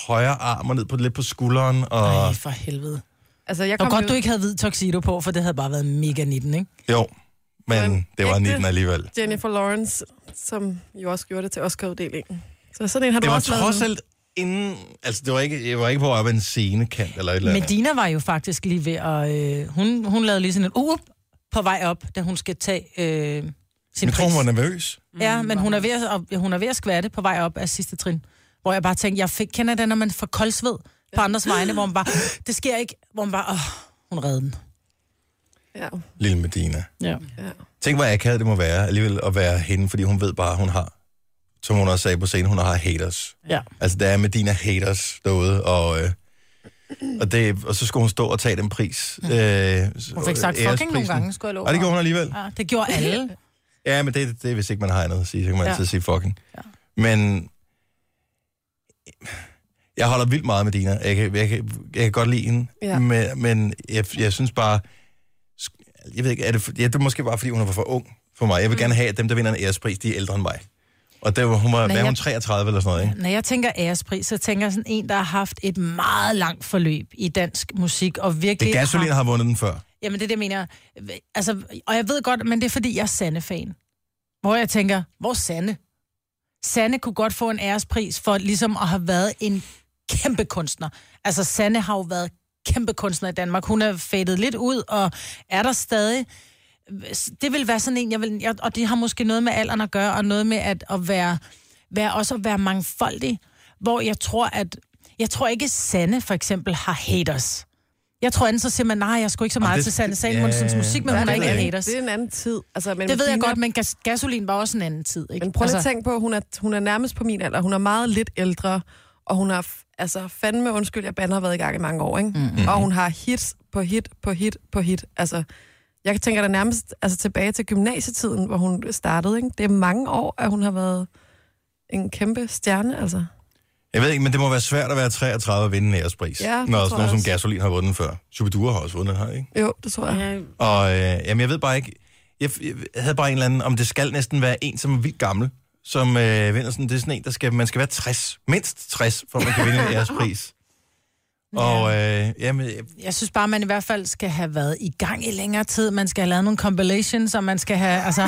Speaker 1: højre arm og ned på, lidt på skulderen. Og,
Speaker 2: Ej, for helvede.
Speaker 3: Altså, jeg
Speaker 2: Det var
Speaker 3: kom
Speaker 2: godt,
Speaker 3: jo-
Speaker 2: du ikke havde hvid tuxedo på, for det havde bare været mega 19, ikke?
Speaker 1: jo, men
Speaker 3: Men
Speaker 1: det var
Speaker 3: ægte.
Speaker 1: 19 alligevel.
Speaker 3: Jennifer Lawrence, som jo også gjorde det til Oscar-uddelingen. Så sådan en har du
Speaker 1: Det var
Speaker 3: også lavet
Speaker 1: trods
Speaker 3: nu.
Speaker 1: alt inden... Altså, det var ikke, jeg var ikke på op ad en scenekant eller et eller andet.
Speaker 2: Medina var jo faktisk lige ved at... Øh, hun, hun lavede lige sådan et uh, på vej op, da hun skal tage øh, sin
Speaker 1: Jeg tror,
Speaker 2: pris.
Speaker 1: hun var nervøs.
Speaker 2: Ja, men hun er, ved at, og hun er ved at skvatte på vej op af sidste trin. Hvor jeg bare tænkte, jeg fik, kender den, når man får koldsved på andres vegne, hvor man bare, det sker ikke, hvor man bare, åh, hun redde den.
Speaker 3: Ja.
Speaker 1: Lille Medina.
Speaker 2: Ja.
Speaker 1: Tænk, hvor akavet det må være alligevel at være hende, fordi hun ved bare, hun har... Som hun også sagde på scenen, hun har haters.
Speaker 2: ja.
Speaker 1: Altså, der er Medina haters derude, og, øh, og, det, og så skulle hun stå og tage den pris. Øh,
Speaker 2: Hun fik sagt fucking nogle gange, skulle jeg love.
Speaker 1: Og det gjorde hun alligevel.
Speaker 2: Ja, det gjorde alle.
Speaker 1: Ja, men det, det er, hvis ikke man har andet at sige, så kan man ja.
Speaker 2: Ja.
Speaker 1: altid sige fucking. Ja. Men jeg holder vildt meget med Dina. Jeg kan, jeg kan, jeg kan godt lide hende, ja.
Speaker 3: Ja.
Speaker 1: men, men jeg, jeg synes bare, jeg ved ikke, er det, for- ja, det er måske bare, fordi hun var for ung for mig. Jeg vil mm. gerne have, at dem, der vinder en ærespris, de er ældre end mig. Og der, var- hun var, hvad er hun,
Speaker 2: jeg-
Speaker 1: 33 eller sådan noget, ikke?
Speaker 2: Når jeg tænker ærespris, så tænker jeg sådan en, der har haft et meget langt forløb i dansk musik, og virkelig...
Speaker 1: Det Gasolin har vundet den før.
Speaker 2: Jamen, det er det, jeg mener. Altså, og jeg ved godt, men det er, fordi jeg er sande fan. Hvor jeg tænker, hvor er Sanne? Sanne kunne godt få en ærespris for ligesom at have været en kæmpe kunstner. Altså, Sanne har jo været kæmpe kunstner i Danmark. Hun er fadet lidt ud og er der stadig. Det vil være sådan en, jeg vil, jeg, og det har måske noget med alderen at gøre, og noget med at, at være, være, også at være mangfoldig, hvor jeg tror, at jeg tror ikke, Sanne for eksempel har haters. Jeg tror enten så siger man, nej, jeg skulle ikke så meget
Speaker 1: det-
Speaker 2: det, til Sanne
Speaker 1: Ja,
Speaker 2: Salmonsens musik, men
Speaker 1: det
Speaker 2: hun er
Speaker 1: ved
Speaker 2: ikke
Speaker 1: jeg
Speaker 2: haters.
Speaker 3: Det er en anden tid. Altså, men
Speaker 2: Det ved jeg
Speaker 3: Bettina-
Speaker 2: godt, men gas- gasolin var også en anden tid, ikke?
Speaker 3: Men prøv lige at
Speaker 2: altså,
Speaker 3: tænke på, at hun er, hun er nærmest på min alder. Hun er meget lidt ældre, og hun har f- altså fandme undskyld, jeg bander har været i gang i mange år, ikke? Mm-hmm. Og hun har hits på hit på hit på hit. Altså, jeg tænker da nærmest altså, tilbage til gymnasietiden, hvor hun startede, ikke? Det er mange år, at hun har været en kæmpe stjerne, altså.
Speaker 1: Jeg ved ikke, men det må være svært at være 33 og vinde en ærespris.
Speaker 3: Ja, det
Speaker 1: når
Speaker 3: tror
Speaker 1: sådan nogen
Speaker 3: jeg
Speaker 1: som
Speaker 3: også.
Speaker 1: Gasolin har vundet den før. Shubidua har også vundet den her, ikke?
Speaker 3: Jo, det tror jeg.
Speaker 4: Ja,
Speaker 1: Og øh, jamen, jeg ved bare ikke... Jeg, jeg havde bare en eller anden... Om det skal næsten være en, som er vildt gammel, som øh, vinder sådan... Det er sådan en, der skal... Man skal være 60. Mindst 60, for at man kan vinde en ærespris. Og øh, jamen, jeg-
Speaker 2: Jeg synes bare, man i hvert fald skal have været i gang i længere tid. Man skal have lavet nogle compilations, og man skal have... Altså,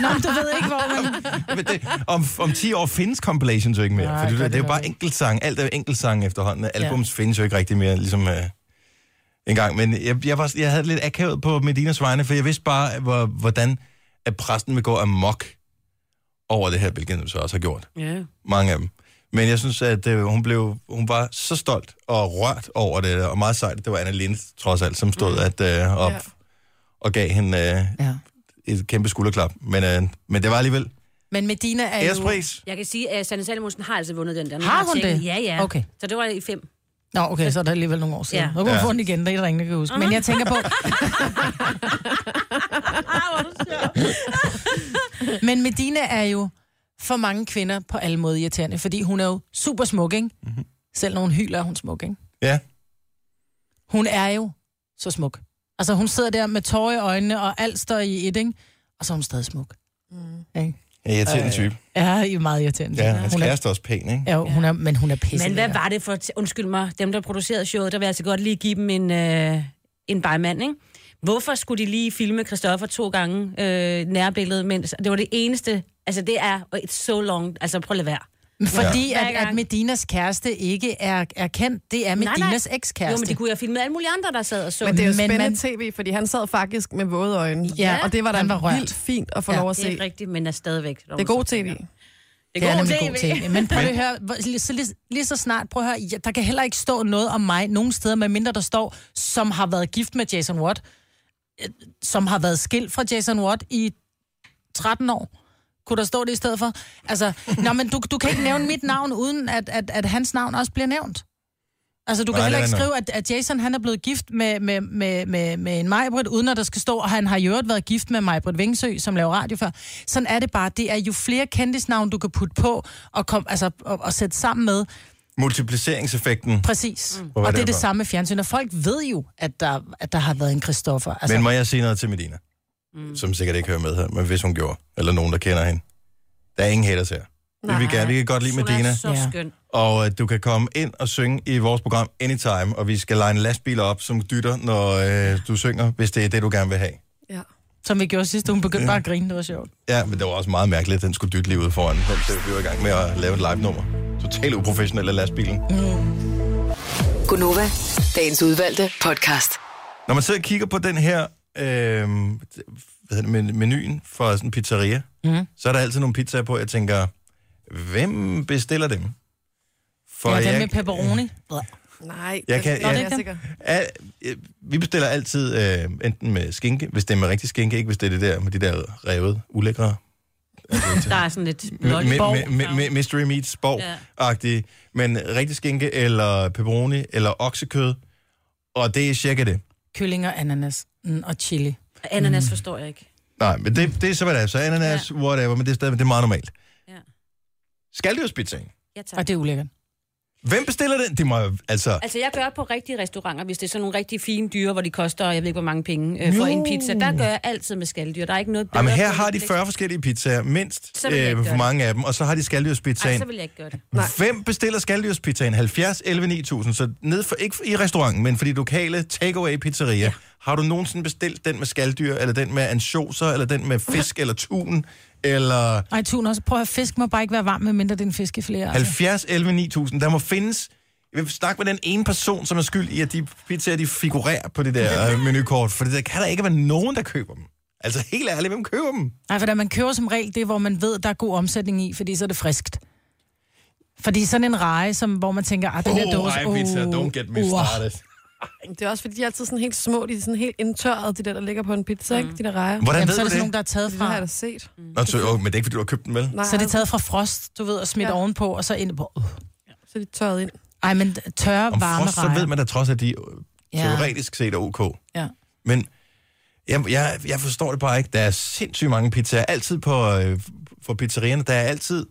Speaker 2: Nå, men du ved ikke, hvor man...
Speaker 1: Men det, om, om 10 år findes compilations jo ikke mere.
Speaker 2: Nej,
Speaker 1: for det, det,
Speaker 2: gør det
Speaker 1: det er jo
Speaker 2: nok
Speaker 1: bare
Speaker 2: ikke.
Speaker 1: enkeltsang. Alt er jo enkeltsang efterhånden. Albums ja. findes jo ikke rigtig mere, ligesom øh, engang. Men jeg, jeg, var, jeg havde lidt akavet på Medinas vegne, for jeg vidste bare, hvor, hvordan at præsten vil gå amok over det her, hvilket hun så også har gjort.
Speaker 4: ja.
Speaker 1: Mange af dem. Men jeg synes, at øh, hun, blev, hun var så stolt og rørt over det, og meget sejt, at det var Anna Lind, trods alt, som stod at, øh, op
Speaker 3: Ja.
Speaker 1: ja. og gav hende øh,
Speaker 2: Ja.
Speaker 1: et kæmpe skulderklap. Men, øh, men det var alligevel
Speaker 2: Men Medina er jo...
Speaker 1: ærespris.
Speaker 4: Jeg kan sige, at Sanne Salomonsen har altså vundet den der. Nu
Speaker 2: Har
Speaker 4: jeg
Speaker 2: hun
Speaker 4: tjekket.
Speaker 2: det?
Speaker 4: Ja, ja.
Speaker 2: Okay.
Speaker 4: Så det var i fem.
Speaker 2: Nå, okay, så er der alligevel nogle år siden.
Speaker 4: Ja.
Speaker 2: Nu kan hun
Speaker 1: Ja.
Speaker 2: få den igen, der er der ingen, der kan huske. Men jeg tænker på... Men Medina er jo for mange kvinder på alle måder irriterende, fordi hun er jo super smuk, ikke?
Speaker 4: Mhm.
Speaker 2: Selv når hun hyler, er hun smuk, ikke?
Speaker 1: Ja.
Speaker 2: hun er jo så smuk. Altså, hun sidder der med tårer i øjnene, og alt står i et, ikke? Og så er hun stadig smuk. Mm. Ikke?
Speaker 1: Ja, irriterende type.
Speaker 2: Ja, I er meget irriterende.
Speaker 1: Ja, hans
Speaker 2: hun er,
Speaker 1: kæreste er også pæn, ikke?
Speaker 2: ja, hun er, men hun er pisse.
Speaker 4: Men hvad var det for... Undskyld mig, dem, der producerede showet, der vil jeg altså godt lige give dem en, øh, en bejmand, ikke? Hvorfor skulle de lige filme Christoffer to gange øh, nærbilledet, mens det var det eneste... Altså, det er et so long... Altså, prøv at lade være.
Speaker 2: Fordi
Speaker 4: Ja.
Speaker 2: at, at Medinas kæreste ikke er, er kendt, det
Speaker 4: nej.
Speaker 2: er Medinas
Speaker 4: Jo, men
Speaker 2: ekskæreste.
Speaker 4: de kunne jo have filmet alle mulige andre, der sad og så.
Speaker 3: Men det er jo
Speaker 2: Men
Speaker 3: spændende
Speaker 2: man-
Speaker 3: tv, fordi han sad faktisk med våde øjne.
Speaker 2: Ja,
Speaker 3: og det var da
Speaker 2: han var rørt.
Speaker 3: vildt fint at få
Speaker 2: Ja,
Speaker 3: lov at
Speaker 4: det er
Speaker 3: se.
Speaker 4: ikke rigtigt, men er stadigvæk...
Speaker 3: Det er god tv.
Speaker 4: Det
Speaker 2: det er
Speaker 4: er god
Speaker 2: nemlig
Speaker 4: tv.
Speaker 2: god tv. Men prøv lige at høre, hvor- lige, så, lige, lige så snart, prøv at høre, ja, der kan heller ikke stå noget om mig nogen steder, medmindre der står, som har været gift med Jason Watt, øh, som har været skilt fra Jason Watt i 13 år. Kunne der stå det i stedet for? Altså, nå, men du, du kan ikke nævne mit navn, uden at, at, at hans navn også bliver nævnt. Altså, du kan
Speaker 1: Nej,
Speaker 2: heller
Speaker 1: det er
Speaker 2: ikke
Speaker 1: rigtigt
Speaker 2: skrive, at, at Jason han er blevet gift med, med, med, med, med en Majbrit, uden at der skal stå, at han har i øvrigt været gift med Majbrit Vingsø, som laver radio før. Sådan er det bare. Det er jo flere kendtisnavn, du kan putte på og, kom, altså, og, og sætte sammen med.
Speaker 1: Multipliceringseffekten.
Speaker 2: Præcis. Mm.
Speaker 1: er
Speaker 2: Og det er
Speaker 1: det
Speaker 2: det
Speaker 1: for?
Speaker 2: samme med fjernsyn, og folk ved jo, at der, at der har været en Christoffer. Altså,
Speaker 1: Men må jeg sige noget til Medina? Mm. Som sikkert ikke hører med her, men hvis hun gjorde, eller nogen, der kender hende. Der er ingen haters her. Vi vil gerne, vi kan godt lide
Speaker 4: Hun
Speaker 1: Medina,
Speaker 4: er så
Speaker 2: Ja.
Speaker 4: skøn.
Speaker 1: og øh, du kan komme ind og synge i vores program anytime, og vi skal line lastbiler op, som dytter, når øh, du synger, hvis det er det, du gerne vil have.
Speaker 3: Ja.
Speaker 2: Som vi gjorde sidste uge, hun begyndte bare at grine, det var sjovt.
Speaker 1: Ja, men det var også meget mærkeligt, at den skulle dytte lige ud foran, mens vi var i gang med at lave et live-nummer. Totalt uprofessionelt af lastbilen.
Speaker 6: Gunova, dagens udvalgte podcast.
Speaker 1: Når man sidder og kigger på den her øh, hvad hedder det, men- menuen for sådan en pizzeria,
Speaker 2: Mhm.
Speaker 1: mm. så er der altid nogle pizzaer på, jeg tænker, hvem bestiller dem? For
Speaker 2: Ja, den med pepperoni.
Speaker 3: Nej,
Speaker 1: Jeg kan-
Speaker 3: det er
Speaker 1: jeg-
Speaker 3: jeg sikker.
Speaker 1: al, øh, vi bestiller altid øh, enten med skinke, hvis det er med rigtig skinke, ikke hvis det er det der med de der revet, ulækre altså,
Speaker 4: Der er sådan lidt...
Speaker 1: Mi- mi-
Speaker 4: Borg.
Speaker 1: mi- mi- mi- Mystery Meats borg-agtige, men rigtig skinke eller pepperoni eller oksekød, og det er cirka det.
Speaker 2: Kyllinger, ananas mm, og chili.
Speaker 4: Ananas forstår jeg ikke.
Speaker 1: Nej, men det, det er så, hvad det er. Så ananas, ja. whatever, men det er stadigvæk det er meget normalt. Ja.
Speaker 4: Ja.
Speaker 1: Skaldyrspizzaen.
Speaker 4: Ja, tak.
Speaker 2: Og det er ulækkert.
Speaker 1: Hvem bestiller den? Det må jo- altså...
Speaker 4: Altså, jeg gør på rigtige restauranter, hvis det er sådan nogle rigtig fine dyre, hvor de koster, jeg ved ikke, hvor mange penge øh, for en pizza. Der gør jeg altid med skaldyr. Der er ikke noget bedre.
Speaker 1: Ej, men her
Speaker 4: på
Speaker 1: har de
Speaker 4: Netflix.
Speaker 1: 40 forskellige pizzaer, mindst
Speaker 4: Så vil jeg ikke
Speaker 1: øh, for
Speaker 4: gøre
Speaker 1: mange af dem, og så har de
Speaker 4: Ej,
Speaker 1: skaldyrspizzaen.
Speaker 4: så vil jeg ikke gøre det.
Speaker 1: Hvem bestiller skaldyrspizzaen? 70, 11, 9000. Så ned for, ikke i restauranten, men for de lokale takeaway pizzerier ja. Har du nogensinde bestilt den med skalddyr, eller den med ansjoser, eller den med fisk, eller tun, eller
Speaker 7: Ej, tun også. Prøv at høre, fisk må bare ikke være varm, medmindre det er en fiskefilet. Altså.
Speaker 1: 70, 11, 9000? Der må findes... Jeg vil snakke med den ene person, som er skyld i, at de pizzaer, de figurerer på det der øh, menukort, for det kan der ikke være nogen, der køber dem. Altså helt ærligt, hvem køber dem?
Speaker 7: Nej, for da man kører som regel det, hvor man ved, der er god omsætning i, fordi så er det friskt. Fordi sådan en reje, som, hvor man tænker, at den der dåse...
Speaker 2: Oh,
Speaker 7: uh,
Speaker 3: Det er også fordi, de er altid sådan helt små, de er sådan helt indtørret, de der, der ligger på en pizza, ikke? De der rejer.
Speaker 1: Hvordan
Speaker 7: Jamen, så er
Speaker 1: ved du
Speaker 7: det sådan
Speaker 1: det?
Speaker 7: nogen, der er taget
Speaker 3: Det har jeg
Speaker 7: fra.
Speaker 3: da set.
Speaker 1: Nå, så, oh, men det er ikke, fordi du har købt dem, vel?
Speaker 3: Nej,
Speaker 7: Så er det taget fra frost, du ved, og smidt
Speaker 3: Ja.
Speaker 7: ja. ovenpå, og så ind på... Uh.
Speaker 3: så er de tørret ind.
Speaker 7: Ej, men tørre,
Speaker 1: Om
Speaker 7: varme
Speaker 1: frost, så
Speaker 7: rejer.
Speaker 1: ved man da trods, at de øh,
Speaker 7: Ja.
Speaker 1: teoretisk set er ok.
Speaker 7: Ja.
Speaker 1: Men jeg, jeg, jeg forstår det bare ikke. Der er sindssygt mange pizzaer. Altid på øh, for pizzerierne, der er altid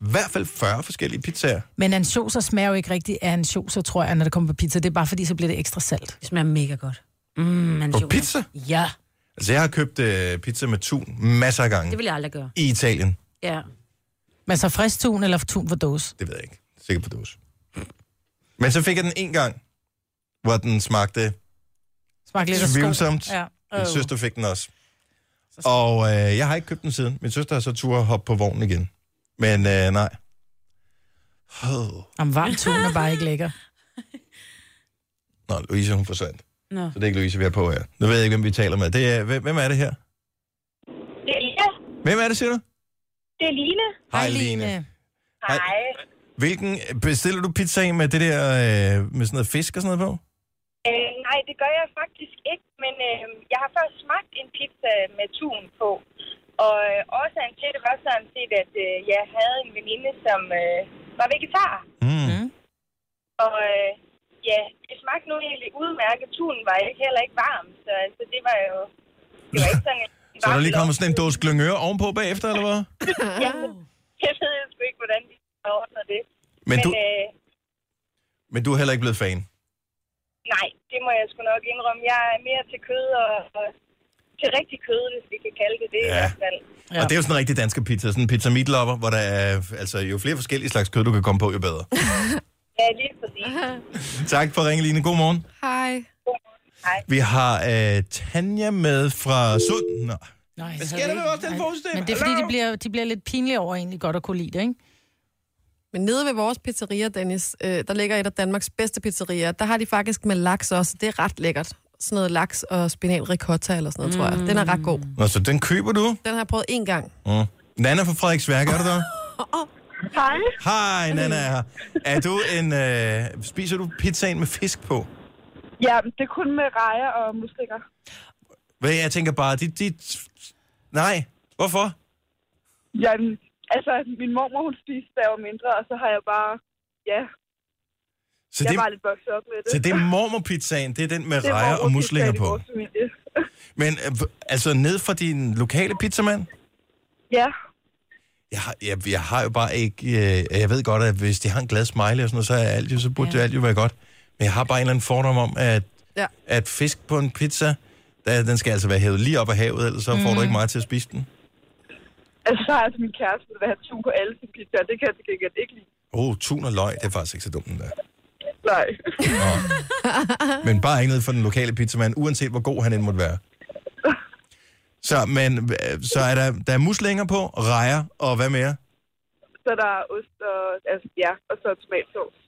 Speaker 1: i hvert fald 40 forskellige pizzaer.
Speaker 7: Men ansjoser smager jo ikke rigtig af ansjoser, tror jeg, når det kommer på pizza. Det er bare fordi, så bliver det ekstra salt.
Speaker 4: Det smager mega godt. Mm, man
Speaker 1: På pizza?
Speaker 4: Ja,
Speaker 1: Altså, jeg har købt øh, pizza med tun masser af gange
Speaker 4: det vil jeg aldrig gøre.
Speaker 1: i Italien.
Speaker 4: Ja.
Speaker 7: Men så frisk tun eller tun for dåse?
Speaker 1: Det ved jeg ikke. Sikkert på dåse. Men så fik jeg den en gang, hvor den smagte
Speaker 7: Smag lidt af skål.
Speaker 1: tvivlsomt.
Speaker 7: Ja.
Speaker 1: Min søster fik den også. Og øh, jeg har ikke købt den siden. Min søster har så tur at hoppe på vognen igen. Men øh, nej. Oh.
Speaker 7: Om varm tun er bare ikke lækker.
Speaker 1: Nå, Louise, hun forsvandt.
Speaker 4: Nå.
Speaker 1: Så det er ikke Louise, vi er på her. Nu ved jeg ikke, hvem vi taler med. Det er, hvem, hvem er det her?
Speaker 9: Det er Line.
Speaker 1: Hvem er det, siger du?
Speaker 9: Det er Line.
Speaker 1: Hej.
Speaker 9: Hej.
Speaker 1: Hvilken bestiller du pizza med det der øh, med sådan noget fisk og sådan noget på?
Speaker 9: Øh, nej, det gør jeg faktisk ikke, men øh, jeg har først smagt en pizza med tun på. Og øh, årsagen til det var sådan set, at øh, jeg havde en veninde, som øh, var vegetar.
Speaker 1: Mm. Mm.
Speaker 9: Og øh, ja, det smagte nu egentlig udmærket. Tunen var ikke, heller ikke varm, så altså, det var jo det var ikke sådan en
Speaker 1: Så er der lige kommet
Speaker 9: varm-
Speaker 1: sådan en dåse glyngøre ovenpå bagefter, eller hvad?
Speaker 9: Jeg ved sgu ikke, hvordan de har ordnet det.
Speaker 1: Men øh, du,
Speaker 9: øh,
Speaker 1: men du er heller ikke blevet fan.
Speaker 9: Nej, det må jeg sgu nok indrømme. Jeg er mere til kød og, og til rigtig kød, hvis vi kan kalde det det
Speaker 1: Ja.
Speaker 9: i hvert fald.
Speaker 1: Ja. Og det er jo sådan en rigtig dansk pizza. Sådan en pizza meatlopper, hvor der er altså, jo flere forskellige slags kød, du kan komme på, jo bedre.
Speaker 9: Ja, lige præcis.
Speaker 1: tak for at ringe, Line. God morgen.
Speaker 3: Hej.
Speaker 1: Vi har øh, Tanja med fra Sund. Nå.
Speaker 7: Nej,
Speaker 1: Hvad sker der med vores telefonsystem?
Speaker 7: Men det er fordi,
Speaker 1: Hallo?
Speaker 7: de bliver, de bliver lidt pinlige over egentlig godt at kunne lide det, ikke?
Speaker 3: Men nede ved vores pizzeria, Dennis, øh, der ligger et af Danmarks bedste pizzerier. Der har de faktisk med laks også. Det er ret lækkert. Sådan noget laks og spinal ricotta eller sådan noget, mm. tror jeg. Den er ret god.
Speaker 1: Nå, så den køber du.
Speaker 3: Den har jeg prøvet én gang.
Speaker 1: Mm. Nana fra Frederiksværk, er du der?
Speaker 9: Hej.
Speaker 1: Hej, Nana er her. Er du en, øh, spiser du pizzaen med fisk på?
Speaker 9: Ja, det er kun med rejer og muslinger.
Speaker 1: Hvad jeg tænker bare, dit, dit... Nej, hvorfor?
Speaker 9: Ja, altså, min mormor, hun spiste, da jeg var mindre, og så har jeg bare... Ja,
Speaker 1: Så
Speaker 9: jeg
Speaker 1: det,
Speaker 9: var lidt vokset op med det.
Speaker 1: så det er mormorpizzaen, det er den med
Speaker 9: Det er
Speaker 1: rejer og
Speaker 9: mormorpizzaen
Speaker 1: muslinger
Speaker 9: i
Speaker 1: på.
Speaker 9: vores familie.
Speaker 1: Men øh, v- altså ned fra din lokale pizzamand?
Speaker 9: Ja,
Speaker 1: Jeg har, jeg, jeg har jo bare ikke... Øh, jeg ved godt, at hvis de har en glad smiley og sådan noget, så, er alt jo, så burde ja. det alt jo være godt. Men jeg har bare en eller anden fordom om, at,
Speaker 3: Ja.
Speaker 1: at fisk på en pizza, der, den skal altså være hævet lige op af havet, ellers så får du ikke meget til at spise den.
Speaker 9: altså, så har altså min kæreste vil have tun på alle sine pizzaer. Det kan jeg til gengæld ikke lide.
Speaker 1: Oh, tun og løg, det er faktisk ikke så dumt, den der.
Speaker 9: Nej.
Speaker 1: Men bare ikke noget for den lokale pizzamand, uanset hvor god han end måtte være. Så, men, øh, så er der, der er muslinger på, rejer, og hvad mere?
Speaker 9: Så der er ost og... Altså, ja, og så tomatsovs.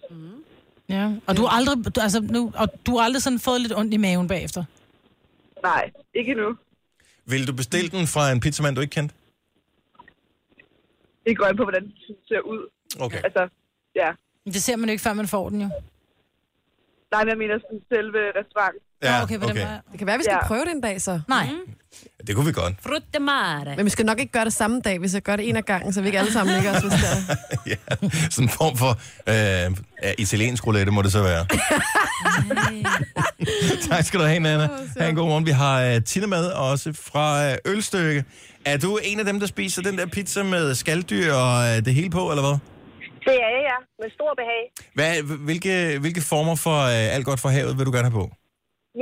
Speaker 7: Ja. Og du har aldrig, du- altså, nu, og du har aldrig sådan fået lidt ondt i maven bagefter.
Speaker 9: Nej, ikke endnu.
Speaker 1: Vil du bestille den fra en pizzamand, du ikke kendte?
Speaker 9: Det går an på, hvordan det ser ud.
Speaker 1: Okay.
Speaker 9: Altså, ja.
Speaker 7: Men Det ser man jo ikke, før man får den jo.
Speaker 9: Nej, men jeg mener sådan selve restauranten.
Speaker 7: Nå, okay, på Den måde.
Speaker 3: Det kan være, vi skal
Speaker 9: Ja.
Speaker 3: ja. prøve det en dag så.
Speaker 7: Nej,
Speaker 1: Det kunne vi godt.
Speaker 4: Frut de Mm. mare.
Speaker 3: Men vi skal nok ikke gøre det samme dag, hvis jeg gør det en af gangen, så vi ikke alle sammen ligger os hvis det er.
Speaker 1: ja, sådan en form for øh, ja, italiensk roulette må det så være. tak skal du have, Nana. Ha' en god morgen. Vi har uh, Tina med, også fra uh, Ølstykke. Er du en af dem, der spiser den der pizza med skalddyr og uh, det hele på, eller hvad?
Speaker 9: Det er jeg, ja. Med stor behag.
Speaker 1: Hvad, hvilke, hvilke former for øh, alt godt fra havet vil du gerne have på?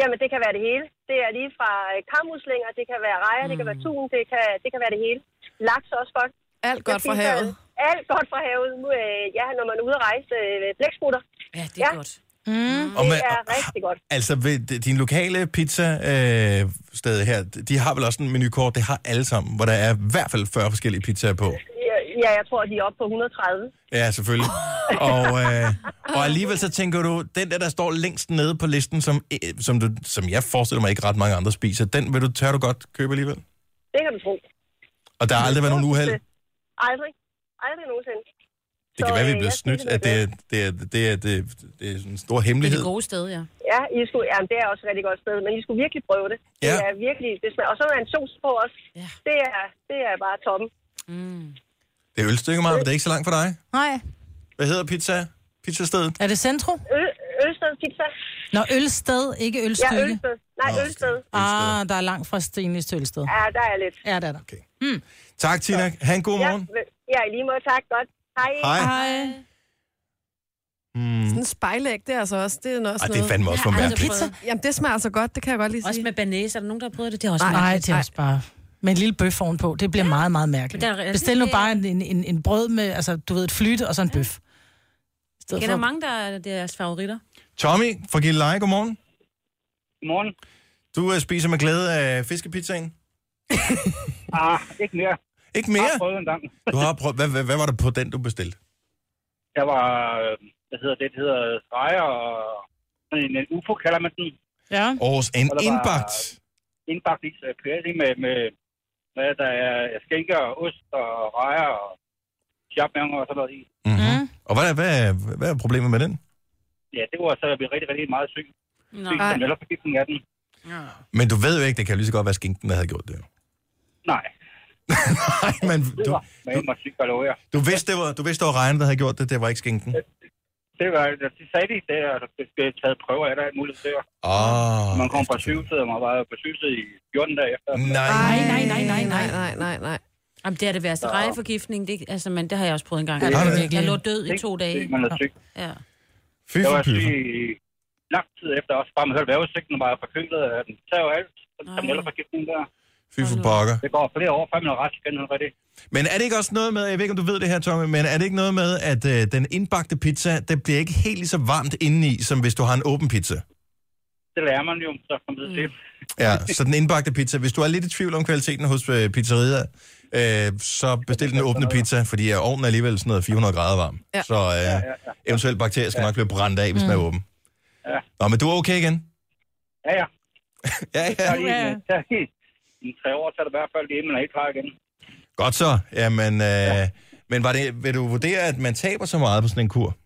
Speaker 9: Jamen, det kan være det hele. Det er lige fra øh, kammuslinger, det kan være rejer, mm. det kan være tun, det kan, det kan være det hele. Laks er også godt.
Speaker 3: Alt godt for
Speaker 9: Jeg spiser
Speaker 3: havet.
Speaker 9: Alt godt fra havet. Nu, øh, ja, når man er ude at rejse øh, blæksprutter.
Speaker 4: Ja, det er
Speaker 9: Ja.
Speaker 4: godt.
Speaker 2: Mm.
Speaker 1: Og
Speaker 9: Det
Speaker 1: man,
Speaker 9: er rigtig godt.
Speaker 1: altså, ved d- din lokale pizza øh, sted her, d- de har vel også en menukort, det har alle sammen, hvor der er i hvert fald 40 forskellige pizzaer på.
Speaker 9: Ja, Ja, jeg tror, de er oppe på 130.
Speaker 1: Ja, selvfølgelig. og, øh, og alligevel så tænker du, den der, der står længst nede på listen, som, øh, som, du, som jeg forestiller mig ikke ret mange andre spiser, den vil du, tør du godt købe alligevel?
Speaker 9: Det kan du tro.
Speaker 1: Og der har aldrig været nogen uheld.
Speaker 9: Aldrig. Aldrig nogensinde.
Speaker 1: Det kan være, vi er
Speaker 9: øh,
Speaker 1: blevet
Speaker 9: jeg synes,
Speaker 1: snydt, at det er, det er, det er, det er, det er sådan en stor
Speaker 4: Det er
Speaker 1: hemmelighed.
Speaker 4: det gode sted, ja.
Speaker 9: Ja, I skulle, jamen, det er også et rigtig godt sted, men I skulle virkelig prøve det. Det
Speaker 1: Ja.
Speaker 9: er virkelig, det smager. Og så er en sovs på også.
Speaker 4: Ja.
Speaker 9: Det, er, det er bare toppen.
Speaker 1: Det er ølstykke, Maja, men det er ikke så langt for dig.
Speaker 2: Nej.
Speaker 1: Hvad hedder pizza? Pizzastedet?
Speaker 2: Er det centro?
Speaker 9: Ø- Ølsted Pizza.
Speaker 2: Nå, ølsted, ikke
Speaker 9: Ja,
Speaker 2: ølstykke.
Speaker 9: Ølsted. Nej,
Speaker 1: Nå, okay.
Speaker 9: Ølsted.
Speaker 2: Ah, der er langt fra Stenlis til ølsted.
Speaker 9: Ja, der er lidt.
Speaker 2: Ja, det er der.
Speaker 1: Tak, Tina. Ha' en god
Speaker 9: Ja,
Speaker 1: morgen.
Speaker 9: vel- ja, i lige måde. Tak. Godt. Hej.
Speaker 1: Hej.
Speaker 2: Hej.
Speaker 1: Mm.
Speaker 3: Sådan en spejlæg, det er altså også, det er også
Speaker 1: Ej, det
Speaker 3: noget.
Speaker 1: er fandme også for
Speaker 4: Jeg har
Speaker 1: mærkeligt.
Speaker 4: aldrig prøvet.
Speaker 3: Jamen, det smager altså godt, det kan jeg godt lige sige.
Speaker 4: Også med banæs, er der nogen, der har prøvet det? Det er også
Speaker 2: Nej,
Speaker 4: mærkeligt.
Speaker 2: det er også bare... Med en lille bøf ovenpå, det bliver meget, meget mærkeligt.
Speaker 4: Men der er-
Speaker 2: Bestil nu bare en, en, en, en brød med, altså du ved, et flyte og så en bøf. I stedet
Speaker 4: Jeg kender
Speaker 2: for-
Speaker 4: mange, der er deres favoritter.
Speaker 1: Tommy fra Gilleleje, godmorgen.
Speaker 8: Godmorgen.
Speaker 1: Du øh, spiser med glæde af fiskepizzaen.
Speaker 8: Ah, ikke mere.
Speaker 1: Ikke
Speaker 8: Jeg
Speaker 1: mere?
Speaker 8: har prøvet en gang.
Speaker 1: Du har prøvet, hvad, hvad, hvad var det på den, du bestilte?
Speaker 8: Jeg var, øh, hvad hedder det, det hedder streger og sådan en, en UFO kalder man den.
Speaker 2: Ja.
Speaker 1: Års en
Speaker 8: Og der var-
Speaker 1: indbagt.
Speaker 8: Indbagt is øh, pyré med, med, med, der er skænker, og ost og rejer og chapmang og sådan noget i.
Speaker 1: Mm-hmm. Og hvad, er- hvad, er- hvad er problemet med den?
Speaker 8: Ja, det var så, jeg blev rigtig, rigtig meget syg.
Speaker 4: Nå.
Speaker 8: Syg som ellers af den.
Speaker 1: Men du ved jo ikke, det kan jo lige så godt være skinken, der havde gjort det. jo.
Speaker 8: Nej,
Speaker 1: Nej, men
Speaker 8: det
Speaker 1: du,
Speaker 8: var med mig syg, hvad det var.
Speaker 1: du, vidste, det var, du vidste, det var regnen, der havde gjort det. Det var ikke skinken.
Speaker 8: Det var, altså, de sagde det, det er, der blev taget prøver af dig, alt muligt der.
Speaker 1: Åh.
Speaker 8: Man kom fra sygehuset, og man var på sygehuset i 14 dage efter.
Speaker 1: Ah. Nej.
Speaker 3: Nej,
Speaker 4: nej, nej, nej, nej.
Speaker 3: nej, nej, nej.
Speaker 4: Jamen, det er det værste. Rejeforgiftning, det, altså, men det har jeg også prøvet en gang.
Speaker 1: Har du det?
Speaker 4: Jeg lå død i to
Speaker 8: Det,
Speaker 4: dage.
Speaker 8: man er syg.
Speaker 4: Mm. Ja.
Speaker 1: Fy
Speaker 8: Jeg
Speaker 1: for
Speaker 8: var syg
Speaker 1: pyfer.
Speaker 8: i lang tid efter, også bare man hørte vejrudsigten, var jeg forkølet af den. Så jo alt, salmonella-forgiftning der.
Speaker 1: Fy for pokker.
Speaker 8: Det går flere år, før man er ret igen, hun rigtig.
Speaker 1: Men er det ikke også noget med, jeg ved ikke, om du ved det her, Tommy, men er det ikke noget med, at øh, den indbagte pizza, det bliver ikke helt lige så varmt indeni, som hvis du har en åben pizza?
Speaker 8: Det lærer man jo, så kommer det til.
Speaker 1: Ja, så den indbagte pizza. Hvis du er lidt i tvivl om kvaliteten hos øh, pizzerier, øh, så bestil den åbne pizza, fordi øh, ovnen er alligevel sådan noget 400 grader varm. Ja. Så øh, ja, ja, ja. eventuelt bakterier skal ja. nok blive brændt af, hvis mm. den er åben.
Speaker 8: Ja.
Speaker 1: Nå, men du er okay igen?
Speaker 8: Ja, ja.
Speaker 1: Ja,
Speaker 8: Så
Speaker 1: ja.
Speaker 8: lige, så lige, i tre år, så er det i hvert fald lige, man er helt klar igen.
Speaker 1: Godt så. Jamen, øh, ja. men var det, vil du vurdere, at man taber så meget på sådan en kur?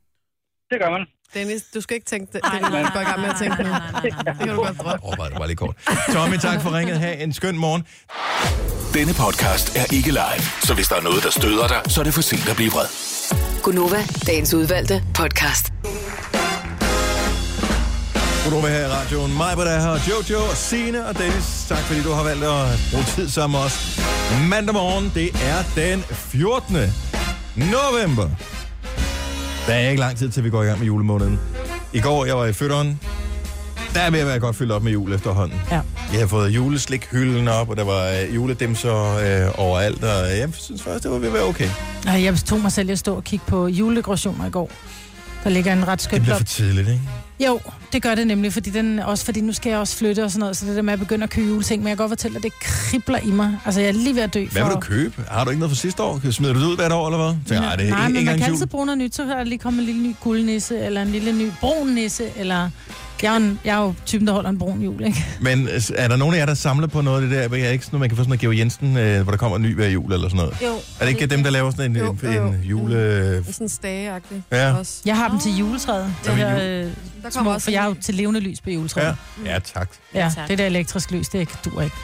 Speaker 8: Det gør man.
Speaker 3: Dennis, du skal ikke tænke det. Det er du går i gang med at tænke nu. Det kan du godt droppe.
Speaker 1: Overvej det bare lige kort. Tommy, tak for ringet. Ha' en skøn morgen.
Speaker 5: Denne podcast er ikke live, så hvis der er noget, der støder dig, så er det for sent at blive vred.
Speaker 6: Gunova, dagens udvalgte podcast.
Speaker 1: Godnova her i radioen. Mig, der er her, Jojo, og Signe og Dennis. Tak fordi du har valgt at bruge tid sammen med os. Mandag morgen, det er den 14. november. Der er ikke lang tid til, vi går i gang med julemåneden. I går, jeg var i fødderen. Der er ved at være godt fyldt op med jul efterhånden.
Speaker 2: Ja.
Speaker 1: Jeg har fået juleslikhylden op, og der var øh, juledimser øh, overalt, og jeg synes faktisk, det var ved at være okay.
Speaker 2: Ej, jeg tog mig selv i at stå og kigge på juledekorationer i går. Der ligger en ret
Speaker 1: Det
Speaker 2: skøn
Speaker 1: bliver
Speaker 2: blok.
Speaker 1: for tidligt, ikke?
Speaker 2: Jo, det gør det nemlig, fordi, den, også fordi nu skal jeg også flytte og sådan noget, så det der med at begynde at købe juleting, men jeg kan godt fortælle dig, det kribler i mig. Altså, jeg er lige ved at dø for...
Speaker 1: Hvad vil du købe? Har du ikke noget fra sidste år? Smider du det ud hvert år, eller hvad? Tænker, nej, det er
Speaker 2: Nej,
Speaker 1: en,
Speaker 2: men
Speaker 1: en
Speaker 2: man
Speaker 1: gang
Speaker 2: kan
Speaker 1: jul.
Speaker 2: altid bruge noget nyt, så er der lige kommet en lille ny guldnisse, eller en lille ny brun nisse, eller... Jeg er, jo en, jeg er jo typen, der holder en brun jul, ikke?
Speaker 1: Men øh, er der nogen af jer, der samler på noget af det der? Jeg er ikke sådan, noget, man kan få sådan noget Georg Jensen, øh, hvor der kommer en ny hver jul eller sådan noget.
Speaker 4: Jo.
Speaker 1: Er det ikke dem, der laver sådan en,
Speaker 3: Jo,
Speaker 1: en,
Speaker 3: jo, jo. Mm.
Speaker 1: en jule...
Speaker 3: Sådan en stageagtig
Speaker 1: Ja.
Speaker 3: også.
Speaker 2: Jeg har dem til juletræet. Det
Speaker 1: Jamen,
Speaker 2: her, øh,
Speaker 3: Der kommer
Speaker 2: små,
Speaker 3: også
Speaker 2: for jeg er jo til levende lys på juletræet.
Speaker 1: Ja. ja, tak.
Speaker 2: Ja,
Speaker 4: tak.
Speaker 2: det der elektrisk lys, det ikke- dur ikke.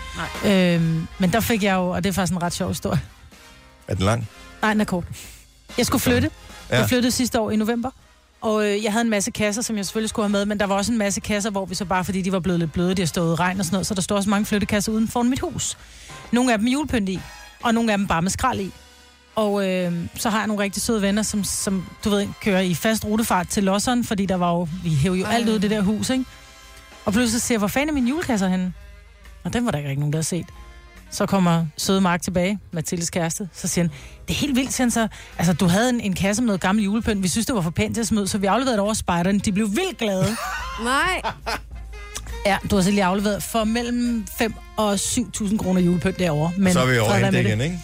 Speaker 2: Nej. Øhm, men der fik jeg jo, og det er faktisk en ret sjov historie.
Speaker 1: Er den lang?
Speaker 2: Nej, den er kort. Jeg skulle flytte.
Speaker 1: Ja.
Speaker 2: Ja. Jeg flyttede sidste år i november. Og øh, jeg havde en masse kasser, som jeg selvfølgelig skulle have med, men der var også en masse kasser, hvor vi så bare, fordi de var blevet lidt bløde, de har stået i regn og sådan noget, så der står også mange flyttekasser uden for mit hus. Nogle af dem med julepynt i, og nogle af dem bare med skrald i. Og øh, så har jeg nogle rigtig søde venner, som, som du ved, kører i fast rutefart til Losseren, fordi der var jo, vi hævde jo
Speaker 3: Ej.
Speaker 2: alt ud i det der hus, ikke? Og pludselig siger jeg, hvor fanden er mine julekasser henne? Og den var der ikke rigtig nogen, der havde set. Så kommer søde Mark tilbage, Mathildes kæreste. Så siger han, det er helt vildt, siger han så. Altså, du havde en, en kasse med noget gammel julepynt. Vi synes, det var for pænt til at smide, ud, så vi afleverede det over spejderne. De blev vildt glade.
Speaker 3: Nej.
Speaker 2: Ja, du har selv lige afleveret for mellem 5 og 7.000 kroner julepynt derovre. Men
Speaker 1: Så er vi over
Speaker 2: fred være
Speaker 1: hende
Speaker 2: med
Speaker 1: igen, ikke?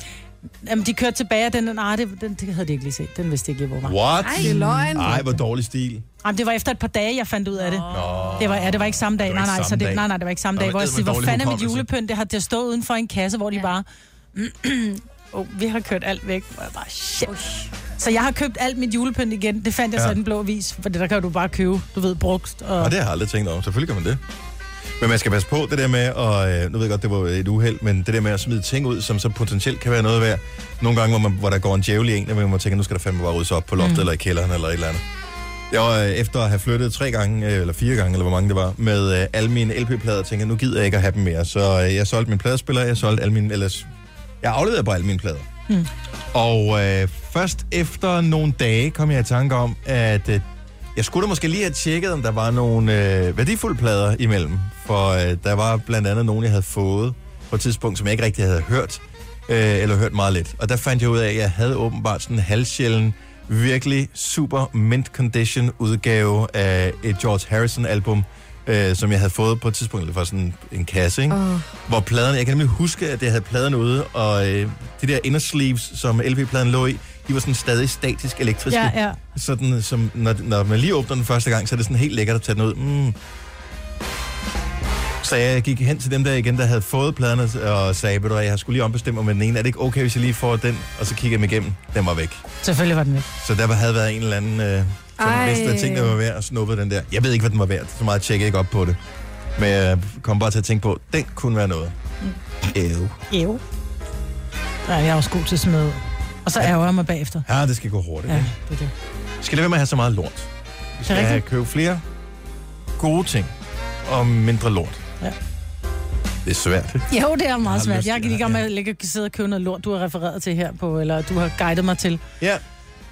Speaker 2: det. Jamen, de kørte tilbage, og den, den, ah, det, den det havde de ikke lige set. Den vidste de ikke lige, hvor var.
Speaker 1: What?
Speaker 3: Det er løgn.
Speaker 1: Ej, hvor dårlig stil.
Speaker 2: Jamen, det var efter et par dage, jeg fandt ud af det. Det var, ja, det var ikke samme dag.
Speaker 1: Det var
Speaker 2: Nej,
Speaker 1: ikke
Speaker 2: nej,
Speaker 1: samme
Speaker 2: så
Speaker 1: dag.
Speaker 2: det, nej, nej, det var ikke samme
Speaker 1: Der
Speaker 2: dag.
Speaker 1: var
Speaker 2: Hvor jeg siger,
Speaker 1: eddermame
Speaker 2: hvor
Speaker 1: dårlig
Speaker 2: fanden er mit
Speaker 1: hukommelse.
Speaker 2: julepynt? Det har det stået uden for en kasse, hvor de bare... oh, vi har kørt alt væk. Hvor jeg bare, shit. Så jeg har købt alt mit julepynt igen. Det fandt jeg så
Speaker 1: Ja.
Speaker 2: i den blå avis, for det der kan du bare købe, du ved, brugt. Og...
Speaker 1: Og det har jeg aldrig tænkt over. Selvfølgelig kan man det. Men man skal passe på det der med, og øh, nu ved jeg godt, det var et uheld, men det der med at smide ting ud, som så potentielt kan være noget værd. Nogle gange, hvor, man, hvor der går en djævel i en, og man må tænke, nu skal der fandme bare ryddes op på loftet mm. eller i kælderen eller et eller andet. Jeg var øh, efter at have flyttet tre gange, øh, eller fire gange, eller hvor mange det var, med øh, alle mine LP-plader, tænkte jeg, nu gider jeg ikke at have dem mere. Så øh, jeg solgte min pladespiller, jeg solgte alle mine, ellers, jeg afleverede bare alle mine plader. Mm. Og øh, først efter nogle dage kom jeg i tanke om, at øh, jeg skulle da måske lige have tjekket, om der var nogle øh, værdifulde plader imellem. For øh, der var blandt andet nogle, jeg havde fået på et tidspunkt, som jeg ikke rigtig havde hørt, øh, eller hørt meget lidt. Og der fandt jeg ud af, at jeg havde åbenbart sådan en halvsjælden, virkelig super mint condition udgave af et George Harrison-album, øh, som jeg havde fået på et tidspunkt, det var sådan en kasse, ikke? Oh. hvor pladerne, jeg kan nemlig huske, at jeg havde pladerne ude, og øh, de der inner sleeves, som LP-pladen lå i, de var sådan stadig statisk elektriske
Speaker 2: Ja, ja.
Speaker 1: sådan, som, når, når man lige åbner den første gang, så er det sådan helt lækkert at tage den ud. Mm. Så jeg gik hen til dem der igen, der havde fået pladerne, og sagde, ved du hvad, jeg har skulle lige ombestemme med den ene. Er det ikke okay, hvis jeg lige får den? Og så kigger jeg dem igennem. Den var væk.
Speaker 2: Selvfølgelig var den væk.
Speaker 1: Så der havde været en eller anden, øh, som
Speaker 3: Ej.
Speaker 1: vidste, hvad tingene var værd, og snuppede den der. Jeg ved ikke, hvad den var værd. Så meget tjekkede jeg ikke op på det. Men jeg kom bare til at tænke på, den kunne være noget. Ew.
Speaker 2: Jo. Ja, jeg er også god til at smide ud. Og så ærger jeg mig bagefter.
Speaker 1: Ja, det skal gå hurtigt.
Speaker 2: Ja,
Speaker 1: Ja.
Speaker 2: det er det.
Speaker 1: Skal det være med at have så meget lort? Vi skal have,
Speaker 2: rigtigt.
Speaker 1: købe flere gode ting og mindre lort.
Speaker 2: Ja.
Speaker 1: Det er svært.
Speaker 2: Jo, det er meget
Speaker 1: har lyst
Speaker 2: svært.
Speaker 1: til
Speaker 2: Jeg kan
Speaker 1: det
Speaker 2: ikke
Speaker 1: her,
Speaker 2: om
Speaker 1: ja.
Speaker 2: at ligge og sidde og købe noget lort, du har refereret til her på, eller du har guidet mig til.
Speaker 1: Ja.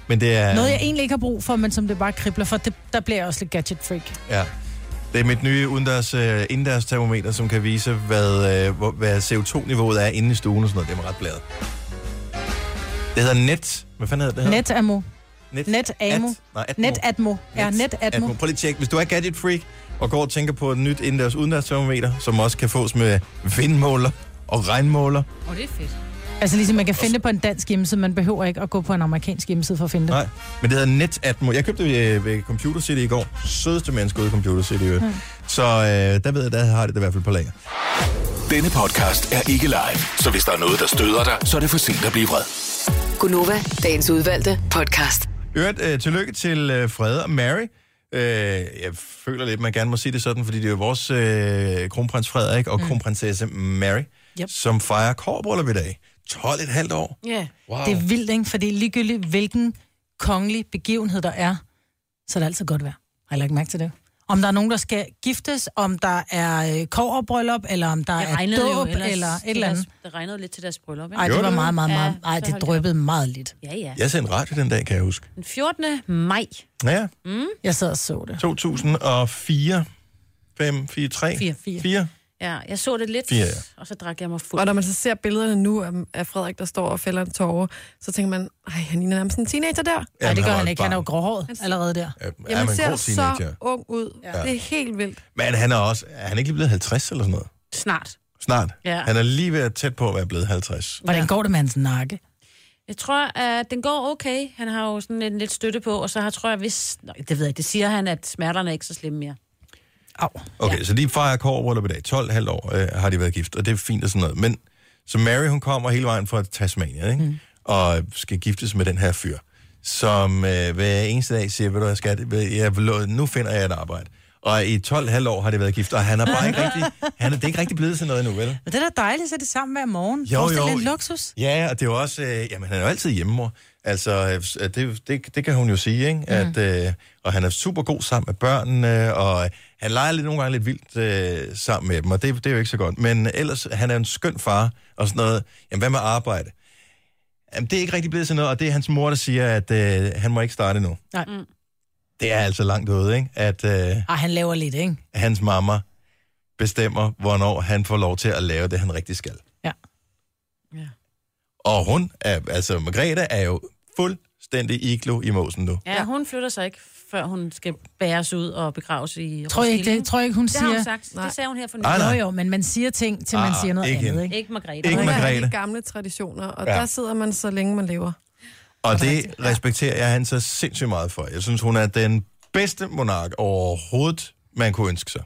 Speaker 1: Men det er...
Speaker 2: Noget, jeg egentlig ikke har brug for, men som det bare kribler for, det, der bliver jeg også lidt gadget-freak.
Speaker 1: Ja. Det er mit nye udendørs, uh, indendørs termometer, som kan vise, hvad, uh, hvor, hvad CO2-niveauet er inde i stuen og sådan noget. Det er mig ret blæret. Det hedder net. Hvad fanden hedder det her?
Speaker 2: Netamo.
Speaker 1: Net.
Speaker 2: Netamo.
Speaker 1: At, nej, Atmo.
Speaker 2: Netatmo. Ja, Netatmo.
Speaker 1: Prøv lige at tjekke. Hvis du er gadget freak og går og tænker på et nyt indendørs udendørs termometer, som også kan fås med vindmåler og regnmåler,
Speaker 4: Åh, oh, det er fedt.
Speaker 2: Altså ligesom, man kan finde det på en dansk hjemmeside, man behøver ikke at gå på en amerikansk hjemmeside for at finde det.
Speaker 1: Nej, men det hedder Netatmo. Jeg købte det ved, ved Computer City i går. Sødeste menneske ude i Computer City. Mm. Så øh, der ved jeg, der har det det i hvert fald på lager.
Speaker 5: Denne podcast er ikke live, så hvis der er noget, der støder dig, så er det for sent at blive vred.
Speaker 6: Gunova, dagens udvalgte podcast.
Speaker 1: I Øvrigt, øh, tillykke til øh, Frede og Mary. Øh, jeg føler lidt, man gerne må sige det sådan, fordi det er jo vores øh, kronprins Frederik og mm. kronprinsesse Mary,
Speaker 2: Yep.
Speaker 1: som fejrer korbryllup i dag. 12,5 år.
Speaker 4: Ja. Yeah.
Speaker 1: Wow.
Speaker 2: Det er vildt, ikke? Fordi ligegyldigt, hvilken kongelig begivenhed der er, så er det altid godt vejr. Har jeg lagt mærke til det? Om der er nogen, der skal giftes, om der er koverbryllup, eller om der
Speaker 4: Det
Speaker 2: er
Speaker 4: regnede jo
Speaker 2: dåb,
Speaker 4: ellers,
Speaker 2: eller et eller andet.
Speaker 4: Det regnede lidt til deres bryllup, ikke?
Speaker 2: Ej, det
Speaker 1: Gjorde
Speaker 2: var
Speaker 1: det?
Speaker 2: meget, meget, meget.
Speaker 4: Ja,
Speaker 2: Ej,
Speaker 4: så
Speaker 2: det
Speaker 4: holdt
Speaker 2: drøbbede meget lidt.
Speaker 4: Ja, ja.
Speaker 1: Jeg sendte radio den dag, kan jeg huske.
Speaker 4: Den 14. maj.
Speaker 1: Ja,
Speaker 2: Jeg sad og så det.
Speaker 1: 2004. 5, 4, 3,
Speaker 4: Fire.
Speaker 1: 4.
Speaker 4: Ja, jeg så det lidt,
Speaker 1: Fire, ja.
Speaker 4: og så drak jeg mig fuld.
Speaker 3: Og når man så ser billederne nu af- af Frederik, der står og fælder en tårer, så tænker man, ej, han ligner nærmest en teenager der.
Speaker 2: Nej, det gør
Speaker 1: var
Speaker 2: han
Speaker 1: et
Speaker 2: ikke. Han er jo
Speaker 1: barn.
Speaker 2: gråhåret allerede der.
Speaker 1: Ja,
Speaker 3: Jamen,
Speaker 1: er man
Speaker 3: ser
Speaker 1: ser teenager.
Speaker 3: så ung ud. Ja. Det er helt vildt.
Speaker 1: Men han er også, er han ikke lige blevet 50 eller sådan noget?
Speaker 4: Snart.
Speaker 1: Snart.
Speaker 4: Ja.
Speaker 1: Han er lige ved at tæt på at være blevet 50.
Speaker 2: Hvordan går det med hans nakke?
Speaker 4: Jeg tror, at den går okay. Han har jo sådan en lidt støtte på, og så har, tror jeg, hvis... Nå, det ved jeg, ikke. det siger han, at smerterne er ikke så slemme mere.
Speaker 2: Au.
Speaker 1: Okay, ja. så de fejrer kårbryllup i dag. 12,5 år øh, har de været gift, og det er fint og sådan noget. Men så Mary, hun kommer hele vejen fra Tasmanien, ikke? Mm. Og skal giftes med den her fyr, som øh, hver eneste dag siger, ved du hvad, skat, ved- jeg, vil- nu finder jeg et arbejde. Og i 12,5 år har de været gift, og han er bare ikke rigtig, han er, det er ikke rigtig blevet til noget endnu, vel?
Speaker 2: Men det er da dejligt, så er de sammen hver morgen.
Speaker 1: Jo,
Speaker 2: Forestil dig
Speaker 1: jo.
Speaker 2: lidt luksus.
Speaker 1: Ja, og det er jo også, øh, jamen han er jo altid hjemmemor. Altså, øh, s- at det, det, det kan hun jo sige, ikke? At, øh, og han er super god sammen med børnene, og øh, han leger lidt, nogle gange lidt vildt øh, sammen med dem, og det, det er jo ikke så godt. Men ellers, han er en skøn far og sådan noget. Jamen, hvad med arbejde? Jamen, det er ikke rigtig blevet sådan noget, og det er hans mor, der siger, at øh, han må ikke starte nu.
Speaker 2: Nej.
Speaker 1: Det er altså langt ude, ikke? At øh,
Speaker 2: Ej, han laver lidt, ikke?
Speaker 1: hans mamma bestemmer, hvornår han får lov til at lave det, han rigtig skal.
Speaker 2: Ja.
Speaker 1: Og hun er, altså Margrethe er jo fuldstændig iglo i måsen nu.
Speaker 4: Ja, hun flytter sig ikke, før hun skal bæres ud og begraves i
Speaker 7: Tror jeg ikke, det, tror jeg ikke hun
Speaker 4: Det har
Speaker 7: siger...
Speaker 4: hun sagt. Det sagde hun her for
Speaker 1: Nej,
Speaker 4: nylig.
Speaker 7: Jo,
Speaker 1: nej.
Speaker 7: jo, men man siger ting, til man
Speaker 1: Ah,
Speaker 7: siger noget
Speaker 1: ikke hende.
Speaker 7: andet, ikke?
Speaker 4: Ikke Margrethe.
Speaker 1: Ikke
Speaker 3: Det er
Speaker 1: Margrethe.
Speaker 3: de gamle traditioner, og
Speaker 1: Ja.
Speaker 3: ja. der sidder man så længe man lever.
Speaker 1: Og det respekterer jeg han så sindssygt meget for. Jeg synes, hun er den bedste monark overhovedet, man kunne ønske sig.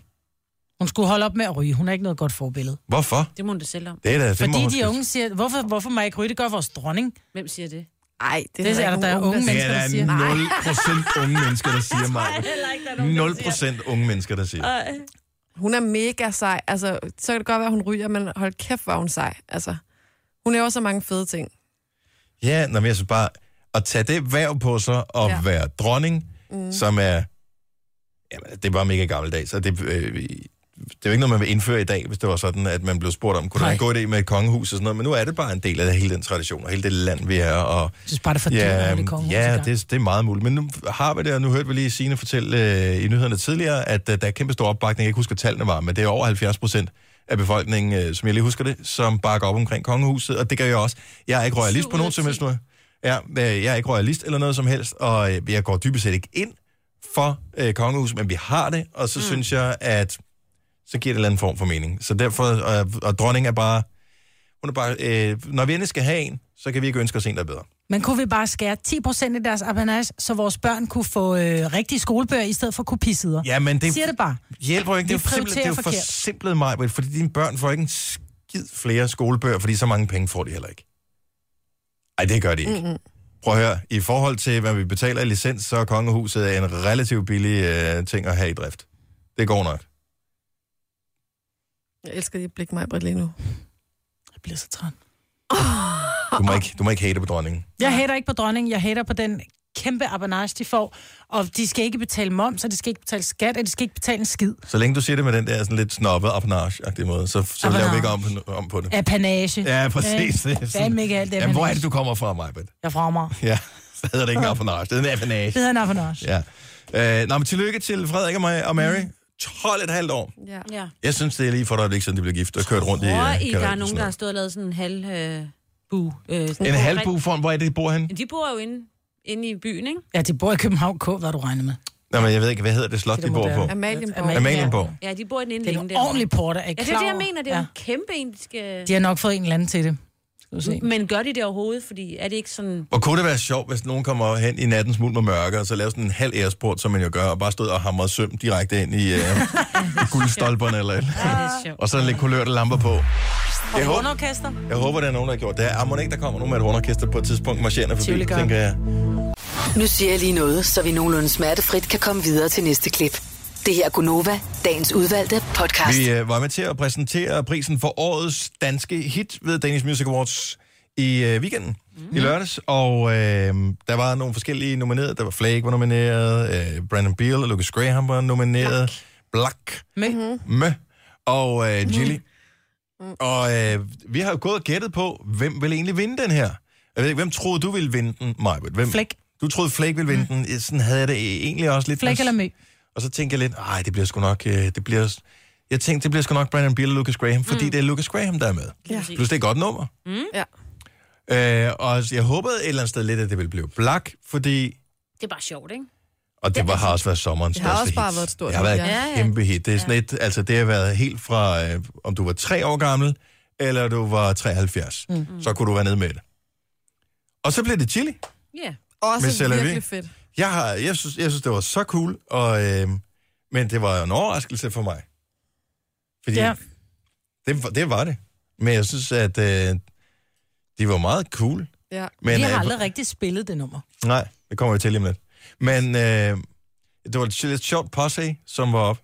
Speaker 7: Hun skulle holde op med at ryge. Hun er ikke noget godt forbillede.
Speaker 1: Hvorfor?
Speaker 4: Det må hun da selv om.
Speaker 1: Det er da, det må
Speaker 7: Fordi
Speaker 1: hun
Speaker 7: de
Speaker 1: sgu-
Speaker 7: unge siger, hvorfor, hvorfor må jeg ikke ryge? Det gør vores dronning.
Speaker 4: Hvem siger det?
Speaker 3: Nej, det,
Speaker 7: Det er der,
Speaker 3: ikke
Speaker 7: der er
Speaker 3: nogen
Speaker 7: unge
Speaker 1: Det
Speaker 7: mennesker, der
Speaker 1: er
Speaker 7: siger.
Speaker 1: da 0 unge mennesker, der siger mig. 0 unge mennesker, der siger.
Speaker 3: Hun er mega sej. Altså, så kan det godt være, hun ryger, men hold kæft, hvor er hun sej. Altså, hun laver så mange fede ting.
Speaker 1: Ja, når jeg synes bare, at tage det værv på sig og ja.
Speaker 3: Ja.
Speaker 1: være dronning, mm. som er, jamen, det er bare mega gammeldags, og det, øh, det er jo ikke noget, man vil indføre i dag, hvis det var sådan, at man blev spurgt om, kunne det være en god idé med et kongehus og sådan noget, men nu er det bare en del af hele den tradition, og hele det land, vi er, og
Speaker 7: Jeg synes bare, Altså, det er for
Speaker 1: Ja,
Speaker 7: dyrt, det kommer
Speaker 1: ja det, det er meget muligt. Men nu har vi det, og nu hørte vi lige Signe fortælle øh, i nyhederne tidligere, at øh, der er kæmpe stor opbakning. Jeg kan ikke huske, hvad tallene var, men det er over 70 procent af befolkningen, øh, som jeg lige husker det, som bakker op omkring kongehuset, og det gør jeg også. Jeg er ikke royalist på nogen som helst måde. Ja, øh, jeg er ikke royalist eller noget som helst, og øh, jeg går dybest set ikke ind for øh, kongehuset, men vi har det, og så mm. synes jeg, at så giver det en eller anden form for mening. Så derfor, og, og dronning er bare, hun er bare, øh, når vi endelig skal have en, så kan vi ikke ønske os en, der er bedre.
Speaker 7: Men kunne vi bare skære 10% af deres apanage, så vores børn kunne få øh, rigtige skolebøger i stedet for kopisider?
Speaker 1: Ja, men det,
Speaker 7: Siger det bare.
Speaker 1: hjælper jo ikke. Det er
Speaker 7: Vi
Speaker 1: jo simpelthen det er
Speaker 7: prioriterer
Speaker 1: jo
Speaker 7: forkert.
Speaker 1: forsimplet mig, fordi dine børn får ikke en skid flere skolebøger, fordi så mange penge får de heller ikke. Ej, det gør de ikke. Mm-hmm.
Speaker 7: Mm.
Speaker 1: Prøv at høre, i forhold til, hvad vi betaler i licens, så er kongehuset en relativt billig øh, ting at have i drift. Det går nok.
Speaker 3: Jeg elsker dit blik, mig, Britt, lige nu.
Speaker 7: Jeg bliver så træt.
Speaker 1: Du må ikke, du må ikke hate på dronningen.
Speaker 7: Jeg hater ikke på dronningen, jeg hater på den kæmpe apanage, de får. Og de skal ikke betale moms, og de skal ikke betale skat, og de skal ikke betale en skid.
Speaker 1: Så længe du siger det med den der sådan lidt snobbet apanage måde, så, så laver vi ikke om, om på det.
Speaker 7: Apanage.
Speaker 1: Ja, præcis. Det er sådan-
Speaker 7: Fandme ikke alt det
Speaker 1: Jamen, hvor er
Speaker 7: apanage.
Speaker 1: det, du kommer fra, Majbet?
Speaker 7: Jeg er fra mig.
Speaker 1: Ja, så hedder det ikke en apanage. Det er en apanage.
Speaker 7: Det hedder en apanage.
Speaker 1: Ja. Øh, nå, men tillykke til Frederik og, mig og Mary. 12,5 år.
Speaker 3: Ja.
Speaker 4: Ja.
Speaker 1: Jeg synes, det er lige for et øjeblik siden, de blev gift og kørt rundt i... øh,
Speaker 4: Tror I,
Speaker 1: kalaten
Speaker 4: der er
Speaker 1: og
Speaker 4: nogen,
Speaker 1: sådan
Speaker 4: der har stået og lavet sådan en halv... Øh, bu, øh,
Speaker 1: noget. En halvbuform, hvor er det, de bor henne?
Speaker 4: De bor jo inde, inde i byen, ikke?
Speaker 7: Ja, de bor i København K, hvad du regner med.
Speaker 1: Nå, men jeg ved ikke, hvad hedder det slot, de bor på?
Speaker 3: Amalienborg.
Speaker 7: Amalie-
Speaker 1: Amalienborg.
Speaker 4: Ja, de bor i den ene
Speaker 7: Det er
Speaker 4: længe.
Speaker 7: en ordentlig porter, er I
Speaker 4: Ja, det
Speaker 7: klar
Speaker 4: er det, jeg
Speaker 7: over?
Speaker 4: mener. Det er jo
Speaker 7: Ja.
Speaker 4: en kæmpe en, de skal...
Speaker 7: De har nok fået en eller anden til det. Skal du se.
Speaker 4: Men gør de det overhovedet? Fordi er det ikke sådan...
Speaker 1: Og kunne det være sjovt, hvis nogen kommer hen i nattens smuld med mørke, og så laver sådan en halv æresport, som man jo gør, og bare stod og hamrede søm direkte ind i, øh, i guldstolperne eller et eller andet.
Speaker 4: Ja, det er sjovt.
Speaker 1: Og så lidt kulørte lamper på. Jeg håber,
Speaker 7: Underorkester.
Speaker 1: jeg håber, der er nogen, der har gjort det. Er ikke, der kommer nogen med et hornorkester på et tidspunkt, marcherende forbi,
Speaker 7: Tivoli gør.
Speaker 1: tænker jeg.
Speaker 6: Nu siger jeg lige noget, så vi nogenlunde smertefrit kan komme videre til næste klip. Det her er Gunova, dagens udvalgte podcast.
Speaker 1: Vi øh, var med til at præsentere prisen for årets danske hit ved Danish Music Awards i øh, weekenden, mm. i lørdags. Og øh, der var nogle forskellige nominerede. Der var Flake var nomineret, øh, Brandon Beal og Lucas Graham var nomineret, Black,
Speaker 4: Mm-hmm.
Speaker 7: Med.
Speaker 1: Mø og øh, Jilly. Og øh, vi har jo gået og gættet på, hvem vil egentlig vinde den her? Jeg ved ikke, hvem troede du ville vinde den, Majbert? Hvem?
Speaker 7: Flake.
Speaker 1: Du troede Flake ville vinde mm. den. Sådan havde jeg det egentlig også lidt.
Speaker 7: Flæk eller mø.
Speaker 1: Og så tænkte jeg lidt, nej, det bliver sgu nok, øh, det bliver, s- jeg tænkte, det bliver sgu nok Brandon Beal og Lucas Graham, fordi mm. det er Lucas Graham, der er med. Ja. Plus det er et godt nummer.
Speaker 3: Ja.
Speaker 1: Øh, og jeg håbede et eller andet sted lidt, at det ville blive Black, fordi,
Speaker 4: Det er bare sjovt, ikke?
Speaker 1: og det var, har også været sommerens
Speaker 3: Det
Speaker 1: største
Speaker 3: har også bare
Speaker 1: hit.
Speaker 3: været et stort
Speaker 1: Det har været
Speaker 3: hit,
Speaker 1: et
Speaker 4: ja. Ja, ja.
Speaker 1: kæmpe hit. Det er sådan et, altså det har været helt fra, øh, om du var tre år gammel, eller du var 73, mm. så kunne du være nede med det. Og så blev det Chili.
Speaker 4: Ja.
Speaker 3: Også
Speaker 1: Med Céline.
Speaker 3: virkelig fedt.
Speaker 1: Jeg, har, jeg, synes, jeg synes, det var så cool, og, øh, men det var en overraskelse for mig. Fordi ja.
Speaker 7: Ja.
Speaker 1: det, var- det var det. Men jeg synes, at øh, de var meget cool.
Speaker 3: Ja.
Speaker 1: Men,
Speaker 7: Vi har
Speaker 1: øh,
Speaker 7: aldrig rigtig spillet det nummer.
Speaker 4: Mm.
Speaker 1: Nej, det kommer jeg til lige om lidt. Men øh, det var et lidt sjovt posse, som var op.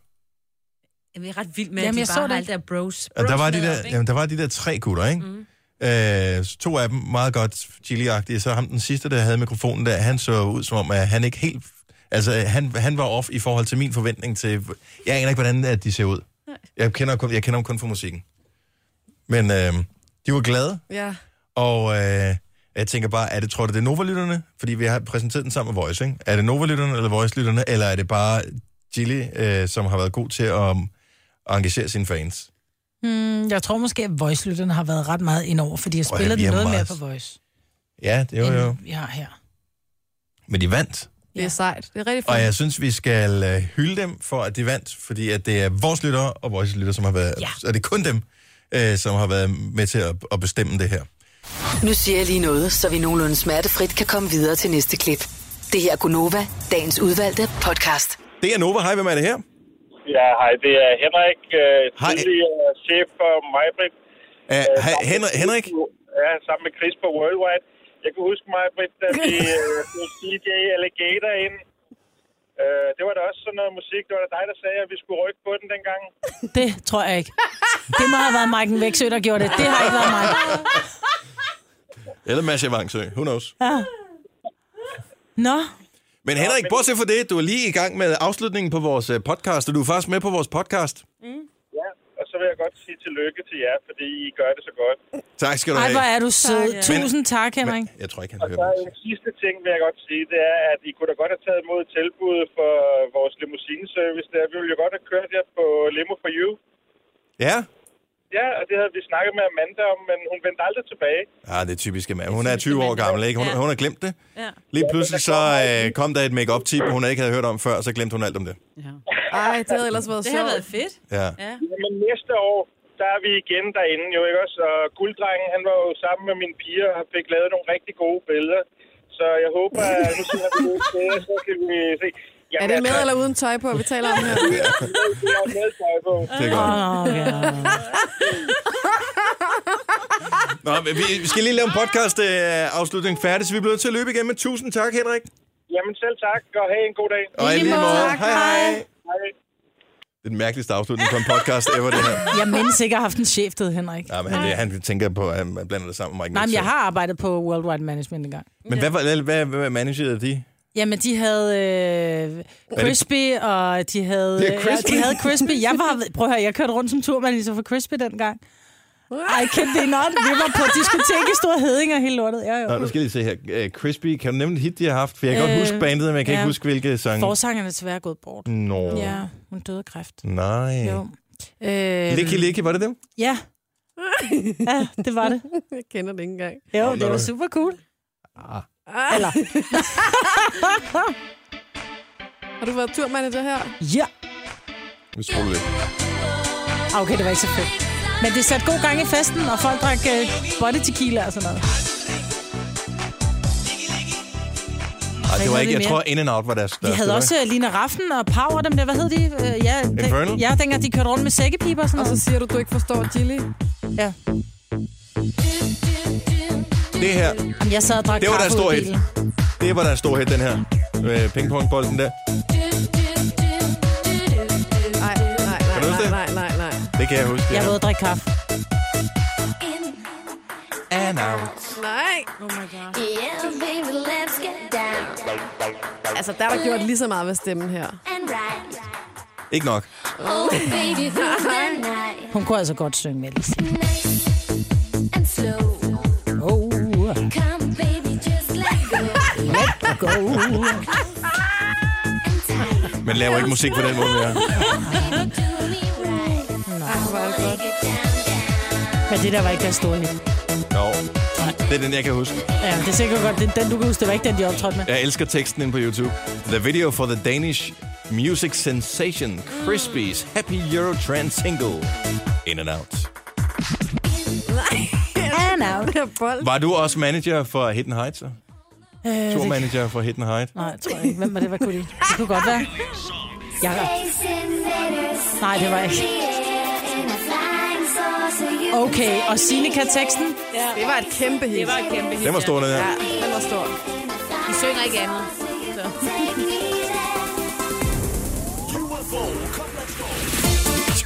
Speaker 4: Jamen, jeg er ret vild med,
Speaker 7: Jamen,
Speaker 4: Jamen,
Speaker 7: jeg
Speaker 4: at de
Speaker 7: så
Speaker 4: bare
Speaker 7: det
Speaker 4: har alt
Speaker 7: ikke.
Speaker 4: der bros.
Speaker 1: Og der var, de
Speaker 4: bros med op,
Speaker 1: der,
Speaker 4: ikke?
Speaker 1: jamen, der var de der tre gutter, ikke? Mm. Øh, så to af dem meget godt chili så ham den sidste, der havde mikrofonen der, han så ud som om, at han ikke helt... Altså, han, han var off i forhold til min forventning til... Jeg aner ikke, hvordan at de ser ud. Jeg kender, kun, jeg kender dem kun fra musikken. Men øh, de var glade,
Speaker 3: Ja.
Speaker 1: og øh, jeg tænker bare, er det, tror du, det er Nova-lytterne? Fordi vi har præsenteret den sammen med Voice, ikke? Er det Nova-lytterne eller Voice-lytterne, eller er det bare Gilly, øh, som har været god til at engagere sine fans?
Speaker 2: Mm, jeg tror måske, at voice har været ret meget indover, fordi jeg
Speaker 1: Prøv at
Speaker 2: spiller
Speaker 1: høre, vi
Speaker 2: den
Speaker 1: har
Speaker 2: noget
Speaker 1: meget-
Speaker 2: mere på voice,
Speaker 1: Ja, det var jo.
Speaker 2: end vi har her.
Speaker 1: Men de vandt.
Speaker 3: Det er sejt. Det er rigtig
Speaker 1: Og
Speaker 3: fedt.
Speaker 1: jeg synes, vi skal øh, hylde dem for, at de vandt, fordi at det er vores lyttere og vores lyttere, som har været... Ja. Er det kun dem, øh, som har været med til at, at bestemme det her?
Speaker 6: Nu siger jeg lige noget, så vi nogenlunde smertefrit kan komme videre til næste klip. Det her er Gunova, dagens udvalgte podcast.
Speaker 1: Det er Nova. Hej, hvem er det her?
Speaker 10: Ja, hej, det er Henrik, øh,
Speaker 1: Hej.
Speaker 10: tidligere chef for Majbrit.
Speaker 1: Uh, hej, Henrik, Henrik?
Speaker 10: Ja, sammen med Chris på Worldwide. Jeg kan huske Majbrit, da vi øh, blev DJ Alligator ind. Øh, det var da også sådan noget musik. Det var da dig, der sagde, at vi skulle rykke på den dengang.
Speaker 2: Det tror jeg ikke. Det må have været Maiken Væksø, der gjorde det. Det har ikke været mig.
Speaker 1: Eller Masha Vangsø. Who knows?
Speaker 2: Nå,
Speaker 1: Men Henrik, bortset fra det, du er lige i gang med afslutningen på vores øh, podcast, og du er faktisk med på vores podcast.
Speaker 10: Ja, og så vil jeg godt sige tillykke til jer, fordi I gør det så godt.
Speaker 1: Tak skal du
Speaker 2: ej, hvor
Speaker 1: have.
Speaker 2: er du sød.
Speaker 11: Tak,
Speaker 1: ja.
Speaker 2: Tusind tak, Henrik.
Speaker 1: Jeg tror ikke, han
Speaker 10: Og så
Speaker 1: hører det.
Speaker 10: en sidste ting, vil jeg godt sige, det er, at I kunne da godt have taget imod tilbuddet for vores limousineservice. Der. Vi ville jo godt have kørt jer på Limo for You.
Speaker 1: Ja?
Speaker 10: Ja, og det havde vi snakket med Amanda om, men hun vendte aldrig tilbage.
Speaker 1: Ah, det er typisk Amanda. Hun er 20 år gammel, ikke? Hun,
Speaker 4: Ja.
Speaker 1: hun har glemt det.
Speaker 4: Ja.
Speaker 1: Lige pludselig så øh, kom der et make tip hun ikke havde hørt om før, og så glemte hun alt om det.
Speaker 3: Ej, det havde ellers været
Speaker 4: Det
Speaker 3: sjovt.
Speaker 4: har været fedt.
Speaker 1: Ja.
Speaker 10: Men næste år, der er vi igen derinde, jo ikke også? Og gulddrengen, han var jo sammen med mine piger og fik lavet nogle rigtig gode billeder. Så jeg håber, at nu siger vi det steder, så kan vi se. Jamen,
Speaker 3: Er det med eller uden tøj på, vi taler om her?
Speaker 10: Det er med, Tøjbo.
Speaker 1: Det er godt.
Speaker 2: Åh, ja.
Speaker 1: Nå, men vi, vi skal lige lave en podcast øh, afslutning færdig, så vi bliver nødt til at løbe igen. Men tusind tak, Henrik.
Speaker 10: Jamen selv tak, og have en god dag.
Speaker 1: Og i lige måde. Hej, hej. Det
Speaker 10: Hej.
Speaker 1: er den mærkeligste afslutning på en podcast ever, det her.
Speaker 2: Jeg mindes ikke at have haft en chef, det hed Henrik.
Speaker 1: Nej, men han, han tænker på, at han blander det sammen med Mike
Speaker 2: Nej, men
Speaker 1: Nielsen.
Speaker 2: jeg har arbejdet på Worldwide Management engang.
Speaker 1: Men hvad, var- hvad, hvad, hvad managerede de?
Speaker 2: Jamen, de havde øh, Crispy, og de havde,
Speaker 1: Det er Crispy.
Speaker 2: Ja, de havde Crispy. Jeg var, prøv at høre, jeg kørte rundt som turmanager for Crispy dengang. Ej, kan det not? Vi var på diskotek i Store Heding og hele lortet. Ja,
Speaker 1: Nå,
Speaker 2: jo.
Speaker 1: nu skal jeg lige se her. Øh, Crispy, kan du nævne et hit, de har haft? For jeg kan øh,
Speaker 2: Øh,
Speaker 1: godt huske bandet, men jeg kan ja.
Speaker 2: ja.
Speaker 1: ikke huske, hvilke sange.
Speaker 2: Forsangeren er desværre gået bort.
Speaker 1: Nå, ja.
Speaker 2: Ja, hun døde af kræft.
Speaker 1: nej.
Speaker 2: Jo. Øh,
Speaker 1: Licky Licky, var det dem?
Speaker 2: Ja. ja, det var det.
Speaker 3: Jeg kender det ikke engang.
Speaker 2: Jo, det var super cool. Eller,
Speaker 3: Har du været turmanager her?
Speaker 2: ja.
Speaker 1: Vi spoler lidt.
Speaker 2: Ah, Okay, det var ikke så fedt. Men det satte god gang i festen, og folk drak øh, body tequila og sådan noget.
Speaker 1: Ej, det var
Speaker 2: havde
Speaker 1: ikke,
Speaker 2: vi
Speaker 1: jeg
Speaker 2: mere?
Speaker 1: tror, In and Out var deres
Speaker 2: Vi
Speaker 1: største.
Speaker 2: havde
Speaker 1: var
Speaker 2: også øh, Lina Raffen og Power, dem der, hvad hed de? Øh, ja, den-
Speaker 1: Infernal?
Speaker 2: Ja, dengang de kørte rundt med sækkepiber og sådan
Speaker 3: Og så
Speaker 2: noget.
Speaker 3: siger du, du ikke forstår Gilly.
Speaker 1: det? Det her,
Speaker 2: Jamen, Jeg sad og drak
Speaker 1: Det var da
Speaker 2: kaffe ud i
Speaker 1: stor hit.
Speaker 2: bilen.
Speaker 1: det var deres store hit, den her. Øh, pingpongbolden der.
Speaker 3: Nej, nej, nej,
Speaker 1: Kan du huske
Speaker 3: nej,
Speaker 1: det?
Speaker 3: nej, nej, nej.
Speaker 1: Det kan jeg huske.
Speaker 2: Jeg
Speaker 1: ja.
Speaker 2: var ude at drikke kaffe.
Speaker 1: And Out.
Speaker 3: Nej. Altså, der er der gjort lige så meget ved stemmen her.
Speaker 1: Ikke nok.
Speaker 9: Oh,
Speaker 2: Hun kunne altså godt synge med.
Speaker 1: Mm.
Speaker 2: Oh, go.
Speaker 1: Men laver ikke musik på den måde mere.
Speaker 2: Men det der var ikke der store hit.
Speaker 1: Jo. Det er den, jeg kan huske.
Speaker 2: Ja, det er sikkert godt. Den, den du kan huske, det var ikke den, de optrådte med.
Speaker 1: Jeg elsker teksten inde på YouTube. The video for the Danish music sensation Crispy's Happy Euro Trend single. In and Out.
Speaker 2: And out.
Speaker 3: Det er bold.
Speaker 1: Var du også manager for Hidden Heights? så?
Speaker 2: Øh,
Speaker 1: Tourmanager for Hidden Heights?
Speaker 2: Nej, jeg tror jeg ikke. Hvem var det, hvad kunne de? Det kunne godt være. Jakob. Nej, det var ikke. Okay, og Signe kan teksten.
Speaker 3: Det var et kæmpe hit.
Speaker 4: Det var et kæmpe hit.
Speaker 1: Den var stor, den her.
Speaker 3: Ja, den var stor.
Speaker 4: Vi synger ikke andet. Så.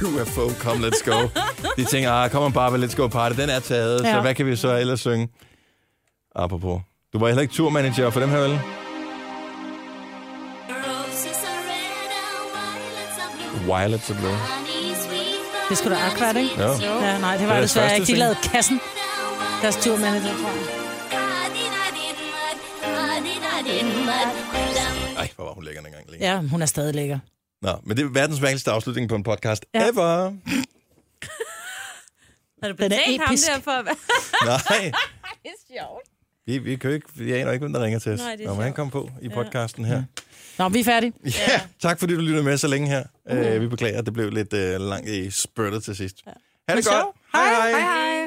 Speaker 1: UFO, come let's go. De tænker, ah, kom on Barbie, let's go party. Den er taget, ja. så
Speaker 2: Ja.
Speaker 1: hvad kan vi så ellers synge? Apropos. Du var heller ikke turmanager for dem her, vel? Violet, så blev.
Speaker 2: Det skulle da Aqua, er det, ikke?
Speaker 1: Ja.
Speaker 2: Ja, nej, det
Speaker 1: Det
Speaker 2: var
Speaker 1: er
Speaker 2: det desværre
Speaker 1: første
Speaker 2: ikke. De
Speaker 1: ting.
Speaker 2: lavede kassen. Deres turmanager, tror jeg.
Speaker 1: Ej, hvor var hun lækker dengang. Ja.
Speaker 2: Ja, hun er stadig lækker.
Speaker 1: Nå, men det er verdens mærkeligste afslutning på en podcast ja. ever.
Speaker 2: Har du
Speaker 4: Den er
Speaker 2: betalt ham
Speaker 4: episk.
Speaker 2: der for at være...
Speaker 1: Nej,
Speaker 2: det er sjovt.
Speaker 1: vi, vi kan jo ikke, vi aner ikke, hvem der ringer til os.
Speaker 2: Nej, det er
Speaker 1: Nå, men han
Speaker 2: sjovt.
Speaker 1: kom på i podcasten her.
Speaker 4: Nå, vi er færdige.
Speaker 1: Ja, Mm. tak fordi du lyttede med så længe her. Øh, Uh, vi beklager, at det blev lidt uh, langt i spurtet til sidst. Ha' det godt. Hej hej.
Speaker 12: Hej.